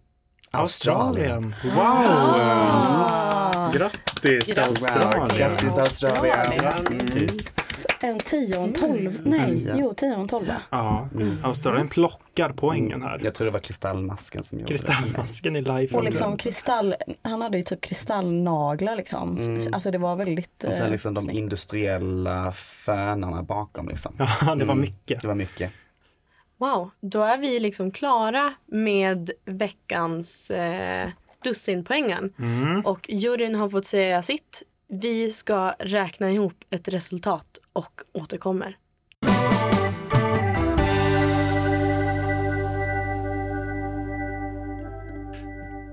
[SPEAKER 3] Australien. Wow! Ah.
[SPEAKER 9] Ah.
[SPEAKER 8] Mm.
[SPEAKER 3] Grattis till
[SPEAKER 8] Wow,
[SPEAKER 3] Australien.
[SPEAKER 8] grattis till Australien.
[SPEAKER 3] Grattis.
[SPEAKER 9] En tia och en
[SPEAKER 8] Mm.
[SPEAKER 9] tolv. Nej, jo tia och en tolva.
[SPEAKER 3] Ja, Australien plockar Mm. poängen här.
[SPEAKER 8] Jag tror det var kristallmasken som gjorde
[SPEAKER 3] Kristallmasken i live.
[SPEAKER 9] Och liksom kristall, han hade ju typ kristallnaglar liksom.
[SPEAKER 3] Mm.
[SPEAKER 9] Alltså det var väldigt
[SPEAKER 8] det. Och sen
[SPEAKER 9] eh,
[SPEAKER 8] liksom de
[SPEAKER 9] snyggt.
[SPEAKER 8] industriella fönarna bakom liksom.
[SPEAKER 3] Ja, det var
[SPEAKER 8] Mm.
[SPEAKER 3] mycket.
[SPEAKER 8] Det var mycket.
[SPEAKER 2] Wow, då är vi liksom klara med veckans eh, dussinpoängen. Och juryn har fått säga sitt. Vi ska räkna ihop ett resultat och återkommer.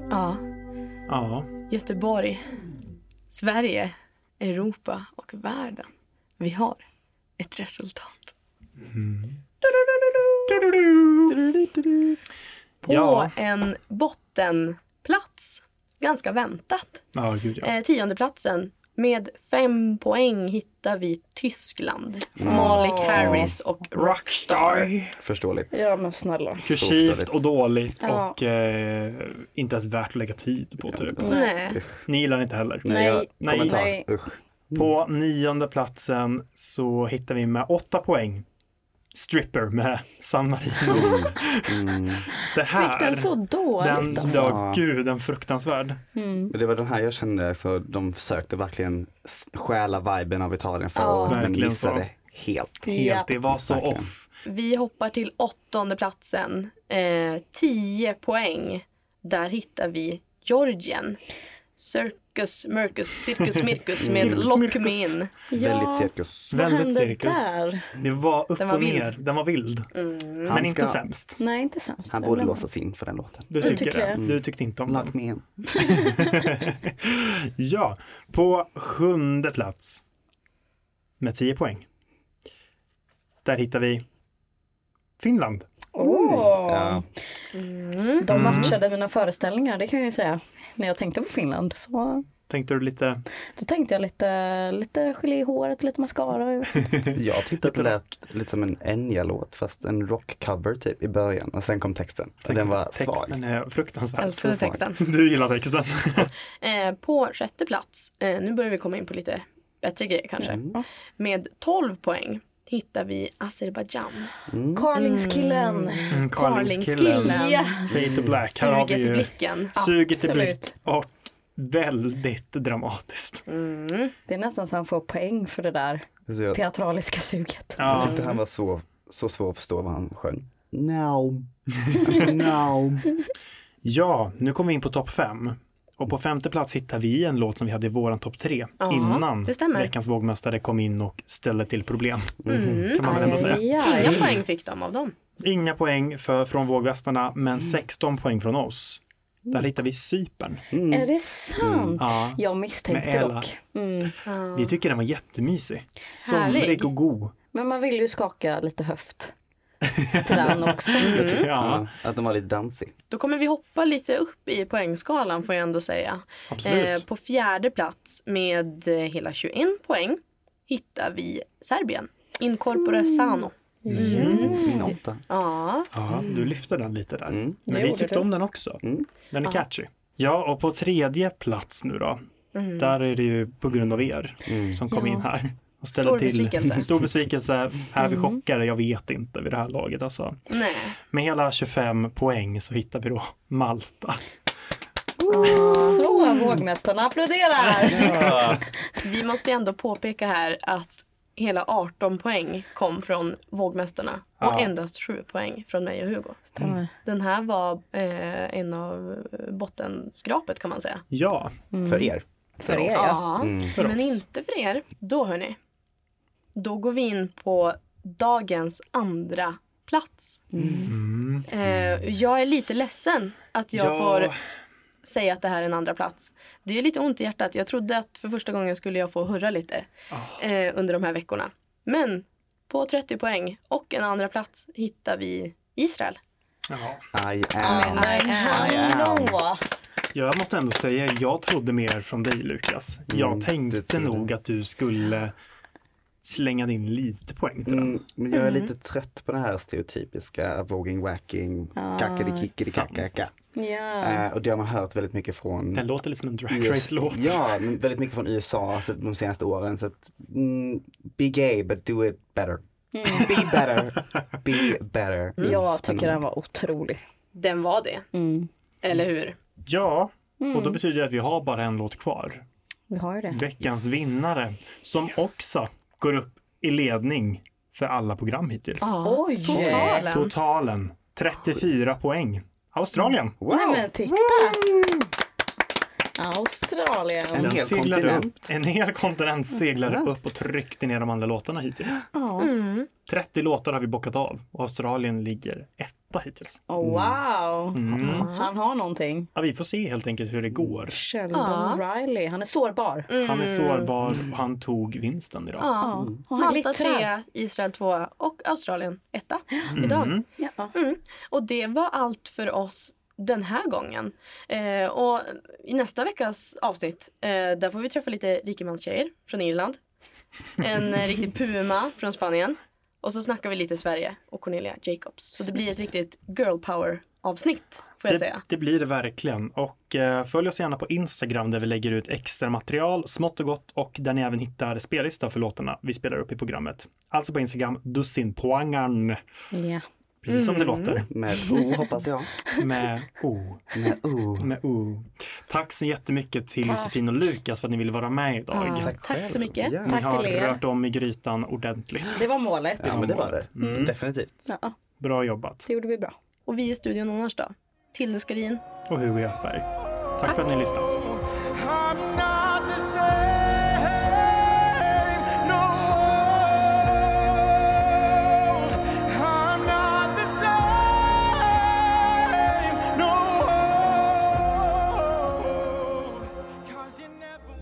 [SPEAKER 2] Ja,
[SPEAKER 3] Ja,
[SPEAKER 2] Göteborg, Sverige, Europa och världen. Vi har ett resultat. på
[SPEAKER 3] Ja.
[SPEAKER 2] en bottenplats. Ganska väntat.
[SPEAKER 3] ja gud ja.
[SPEAKER 2] Eh, tiondeplatsen. Med fem poäng hittar vi Tyskland. Malik Harris och Rockstar.
[SPEAKER 8] Förståeligt.
[SPEAKER 9] Ja men snälla.
[SPEAKER 3] Kursivt och dåligt
[SPEAKER 9] Ja.
[SPEAKER 3] och eh, inte ens värt att lägga tid på typ.
[SPEAKER 2] Nej.
[SPEAKER 3] Ni gillar det inte heller.
[SPEAKER 9] Nej.
[SPEAKER 8] jag-
[SPEAKER 3] Nej.
[SPEAKER 8] Kommentar.
[SPEAKER 9] Nej.
[SPEAKER 8] Usch.
[SPEAKER 3] På nionde platsen så hittar vi med åtta poäng Stripper med San Marino.
[SPEAKER 8] Mm.
[SPEAKER 3] Det här.
[SPEAKER 9] Mm. Fick den så dåligt Mm.
[SPEAKER 3] den,
[SPEAKER 9] alltså.
[SPEAKER 3] ja, gud, den fruktansvärd.
[SPEAKER 8] Men Det var den här jag kände, så de försökte verkligen s- stjäla viben av Italien förra
[SPEAKER 9] Ja.
[SPEAKER 8] året men
[SPEAKER 3] Verkligen
[SPEAKER 8] missade helt.
[SPEAKER 3] Helt, det var så
[SPEAKER 8] Verkligen.
[SPEAKER 3] off.
[SPEAKER 2] Vi hoppar till åttondeplatsen. Eh, tio poäng. Där hittar vi Georgien. Circus, Mercus, Circus,
[SPEAKER 3] [LAUGHS]
[SPEAKER 2] Mircus med
[SPEAKER 3] Circus,
[SPEAKER 2] Lock Me
[SPEAKER 3] Mircus.
[SPEAKER 2] In.
[SPEAKER 9] Ja,
[SPEAKER 8] Väldigt cirkus.
[SPEAKER 9] Vad
[SPEAKER 3] Väldigt
[SPEAKER 9] hände
[SPEAKER 3] cirkus.
[SPEAKER 9] där?
[SPEAKER 3] Det var upp
[SPEAKER 2] Den var
[SPEAKER 3] och
[SPEAKER 2] vild.
[SPEAKER 3] ner, den var vild.
[SPEAKER 2] Mm.
[SPEAKER 8] Han
[SPEAKER 3] Men inte
[SPEAKER 8] ska-
[SPEAKER 3] sämst.
[SPEAKER 9] Nej inte sämst.
[SPEAKER 8] Han
[SPEAKER 9] Det
[SPEAKER 8] borde
[SPEAKER 9] var-
[SPEAKER 8] låsas in för den låten.
[SPEAKER 3] Du tycker,
[SPEAKER 9] tycker
[SPEAKER 3] det.
[SPEAKER 9] det.
[SPEAKER 8] Mm.
[SPEAKER 3] Du tyckte inte om den.
[SPEAKER 8] Lock me in.
[SPEAKER 3] Ja, på sjunde plats med 10 poäng. Där hittar vi Finland.
[SPEAKER 9] Åh.
[SPEAKER 8] Ja.
[SPEAKER 9] Mm. De
[SPEAKER 3] Mm.
[SPEAKER 9] matchade mina föreställningar, det kan jag ju säga. När jag tänkte på Finland så
[SPEAKER 3] Tänkte du lite,
[SPEAKER 9] då tänkte jag lite, lite gelé i håret, lite mascara. Jag
[SPEAKER 3] Mm.
[SPEAKER 9] vet inte.
[SPEAKER 8] Jag tyckte att det lät lite som en Enya-låt fast en rockcover typ i början och sen kom texten. Och den var
[SPEAKER 3] texten
[SPEAKER 8] svag.
[SPEAKER 3] är fruktansvärd.
[SPEAKER 2] Älskade texten.
[SPEAKER 3] Du gillar texten.
[SPEAKER 2] Eh, på sjätte plats, eh, nu börjar vi komma in på lite bättre grejer kanske. Med 12 poäng hittar vi Azerbajdzjan.
[SPEAKER 9] Carlingskillen.
[SPEAKER 3] Mm, Carlingskillen.
[SPEAKER 2] Carlingskillen.
[SPEAKER 9] Ja.
[SPEAKER 3] Fade to black. Här har vi
[SPEAKER 2] Suget i
[SPEAKER 3] ju
[SPEAKER 2] blicken.
[SPEAKER 3] suget i
[SPEAKER 9] Absolut.
[SPEAKER 3] blick och väldigt dramatiskt.
[SPEAKER 2] Mm.
[SPEAKER 9] Det är nästan så han får poäng för det där
[SPEAKER 8] Så jag, jag
[SPEAKER 9] teatraliska suget.
[SPEAKER 3] Ja,
[SPEAKER 8] tyckte han var så, så svår att förstå vad han sjöng.
[SPEAKER 9] [LAUGHS]
[SPEAKER 8] No. I'm so no.
[SPEAKER 3] ja nu kommer vi in på topp fem. Och på femte plats hittar vi en låt som vi hade i våran topp tre
[SPEAKER 2] Ja,
[SPEAKER 3] innan
[SPEAKER 2] det stämmer.
[SPEAKER 3] veckans vågmästare kom in och ställde till problem.
[SPEAKER 2] Mm.
[SPEAKER 3] Kan man väl ändå säga.
[SPEAKER 9] Aj,
[SPEAKER 2] Inga
[SPEAKER 9] aj.
[SPEAKER 2] poäng fick de av dem.
[SPEAKER 3] Inga poäng för, från vågvästarna, men 16 poäng från oss. Där hittar vi Cypern.
[SPEAKER 9] Är det sant?
[SPEAKER 3] Mm. Ja.
[SPEAKER 9] Jag
[SPEAKER 3] Med
[SPEAKER 9] misstänkte
[SPEAKER 3] Ella.
[SPEAKER 9] dock. Mm.
[SPEAKER 3] Vi tycker den var jättemysig.
[SPEAKER 2] Härlig.
[SPEAKER 3] Somrig och god.
[SPEAKER 9] Men man vill ju skaka
[SPEAKER 8] [LAUGHS]
[SPEAKER 9] lite höft till den också. Mm.
[SPEAKER 3] [LAUGHS] Ja,
[SPEAKER 8] Ja, att den var lite dansig.
[SPEAKER 2] Då kommer vi hoppa lite upp i poängskalan får jag ändå säga. Eh,
[SPEAKER 3] absolut.
[SPEAKER 2] på fjärde plats med eh, hela 21 poäng hittar vi Serbien. Incorpore
[SPEAKER 9] Mm.
[SPEAKER 2] Sano.
[SPEAKER 8] Min åtta.
[SPEAKER 2] Ja,
[SPEAKER 3] Ja,
[SPEAKER 2] Mm.
[SPEAKER 3] du lyfte den lite där. Men
[SPEAKER 9] Det
[SPEAKER 3] vi
[SPEAKER 9] gjorde
[SPEAKER 3] tyckte
[SPEAKER 9] du.
[SPEAKER 3] om den också. Den är catchy. Mm. Ja, och på tredje plats nu då.
[SPEAKER 2] Mm.
[SPEAKER 3] Där är det ju på grund av er som kom in här. Och ställde
[SPEAKER 2] Stor
[SPEAKER 3] till
[SPEAKER 2] besvikelse.
[SPEAKER 3] [LAUGHS]
[SPEAKER 2] Mm.
[SPEAKER 3] Stor besvikelse. Är vi chockade? Jag vet inte vid det här laget alltså.
[SPEAKER 2] nej.
[SPEAKER 3] Med hela 25 poäng så hittar vi då Malta.
[SPEAKER 9] Så vågmästarna applåderar!
[SPEAKER 2] Vi måste ju ändå påpeka här att hela 18 poäng kom från vågmästarna och
[SPEAKER 3] Ja. Mm.
[SPEAKER 2] endast 7 poäng från mig och Hugo. Den här var eh, en av bottenskrapet kan man säga.
[SPEAKER 3] Ja,
[SPEAKER 9] Mm.
[SPEAKER 8] För er.
[SPEAKER 9] För er ja.
[SPEAKER 2] Ja,
[SPEAKER 3] Mm, för
[SPEAKER 2] men
[SPEAKER 3] oss.
[SPEAKER 2] inte för er. Då hörni. Då går vi in på dagens andra plats. Eh, jag är lite ledsen att jag
[SPEAKER 3] Ja.
[SPEAKER 2] får säga att det här är en andra plats. Det är lite ont i hjärtat. Jag trodde att för första gången skulle jag få hurra lite eh, under de här veckorna. Men på 30 poäng och en andra plats hittar vi Israel.
[SPEAKER 3] Ja.
[SPEAKER 8] I am.
[SPEAKER 9] Men hallå!
[SPEAKER 3] Jag måste ändå säga, jag trodde mer från dig Lukas. Jag tänkte nog att du skulle slänga in lite poäng till den.
[SPEAKER 8] Mm, men jag är lite trött på det här stereotypiska våging, wacking,
[SPEAKER 9] Ah,
[SPEAKER 8] kackadikickidi,
[SPEAKER 3] sant.
[SPEAKER 8] kackacka.
[SPEAKER 9] Ja.
[SPEAKER 8] Eh, Och det har man hört väldigt mycket från
[SPEAKER 3] Den låter lite som en Drag
[SPEAKER 8] US
[SPEAKER 3] Race-låt.
[SPEAKER 8] Mm. Ja, men väldigt mycket från USA alltså, de senaste åren. Så att, mm, be gay but do it better. Be better, be better. Mm,
[SPEAKER 9] Mm. Jag tycker
[SPEAKER 8] spännande.
[SPEAKER 9] den var otrolig.
[SPEAKER 2] Den var det,
[SPEAKER 9] Mm.
[SPEAKER 2] eller hur?
[SPEAKER 3] Ja, och då betyder det att vi har bara en låt kvar.
[SPEAKER 8] Mm.
[SPEAKER 9] Vi har ju det.
[SPEAKER 3] Veckans vinnare, som också går upp i ledning för alla program hittills.
[SPEAKER 9] Oj!
[SPEAKER 2] Totalen.
[SPEAKER 3] Totalen 34 poäng. Australien.
[SPEAKER 8] Wow,
[SPEAKER 9] Nej men titta! Australien.
[SPEAKER 8] En
[SPEAKER 3] Den
[SPEAKER 8] hel
[SPEAKER 3] seglade upp,
[SPEAKER 8] kontinent.
[SPEAKER 3] en hel kontinent seglade upp och tryckte ner de andra låtarna hittills.
[SPEAKER 9] Ja.
[SPEAKER 8] Mm.
[SPEAKER 3] 30 låtar har vi bockat av och Australien ligger etta hittills.
[SPEAKER 9] Oh, wow!
[SPEAKER 3] Mm.
[SPEAKER 9] Han har någonting.
[SPEAKER 3] Ja, vi får se helt enkelt hur det går.
[SPEAKER 9] Sheldon Riley. Han är sårbar.
[SPEAKER 3] Han är sårbar och han tog vinsten idag.
[SPEAKER 2] Ja.
[SPEAKER 8] Mm.
[SPEAKER 9] Och han
[SPEAKER 2] Malta
[SPEAKER 9] glittrar.
[SPEAKER 2] trea, Israel tvåa och Australien etta
[SPEAKER 3] Mm.
[SPEAKER 2] idag.
[SPEAKER 9] Ja.
[SPEAKER 2] Och det var allt för oss den här gången. Eh, och i nästa veckas avsnitt, eh, där får vi träffa lite rikemanstjejer från Irland. En eh, riktig puma från Spanien. Och så snackar vi lite Sverige och Cornelia Jacobs. Så det blir ett riktigt girl power avsnitt får jag
[SPEAKER 3] Det,
[SPEAKER 2] säga.
[SPEAKER 3] det blir det verkligen. Och eh, följ oss gärna på Instagram där vi lägger ut extra material, smått och gott och där ni även hittar spellista för låtarna vi spelar upp i programmet. Alltså på Instagram, dussinpoangan,
[SPEAKER 9] Ja.
[SPEAKER 3] precis som det
[SPEAKER 2] Mm.
[SPEAKER 3] låter,
[SPEAKER 8] Med O hoppas
[SPEAKER 9] [LAUGHS]
[SPEAKER 8] jag. Oh,
[SPEAKER 3] med O.
[SPEAKER 8] Med O.
[SPEAKER 3] Med O. Tack så jättemycket till Josefin och Lukas för att ni ville vara med idag.
[SPEAKER 2] Ja,
[SPEAKER 3] Ni
[SPEAKER 2] tack så mycket.
[SPEAKER 8] Ja,
[SPEAKER 9] Tack
[SPEAKER 3] har
[SPEAKER 9] till er.
[SPEAKER 3] rört om i grytan ordentligt.
[SPEAKER 9] Det var målet.
[SPEAKER 8] ja men det var det. Definitivt.
[SPEAKER 9] Ja,
[SPEAKER 3] Bra jobbat.
[SPEAKER 9] det gjorde vi bra.
[SPEAKER 2] Och vi i studion annars då? Tilde Skarin.
[SPEAKER 3] Och Hugo Göthberg. Tack för att ni har lyssnat.
[SPEAKER 4] I'm not the same no more. I'm not the same no more. 'Cause you never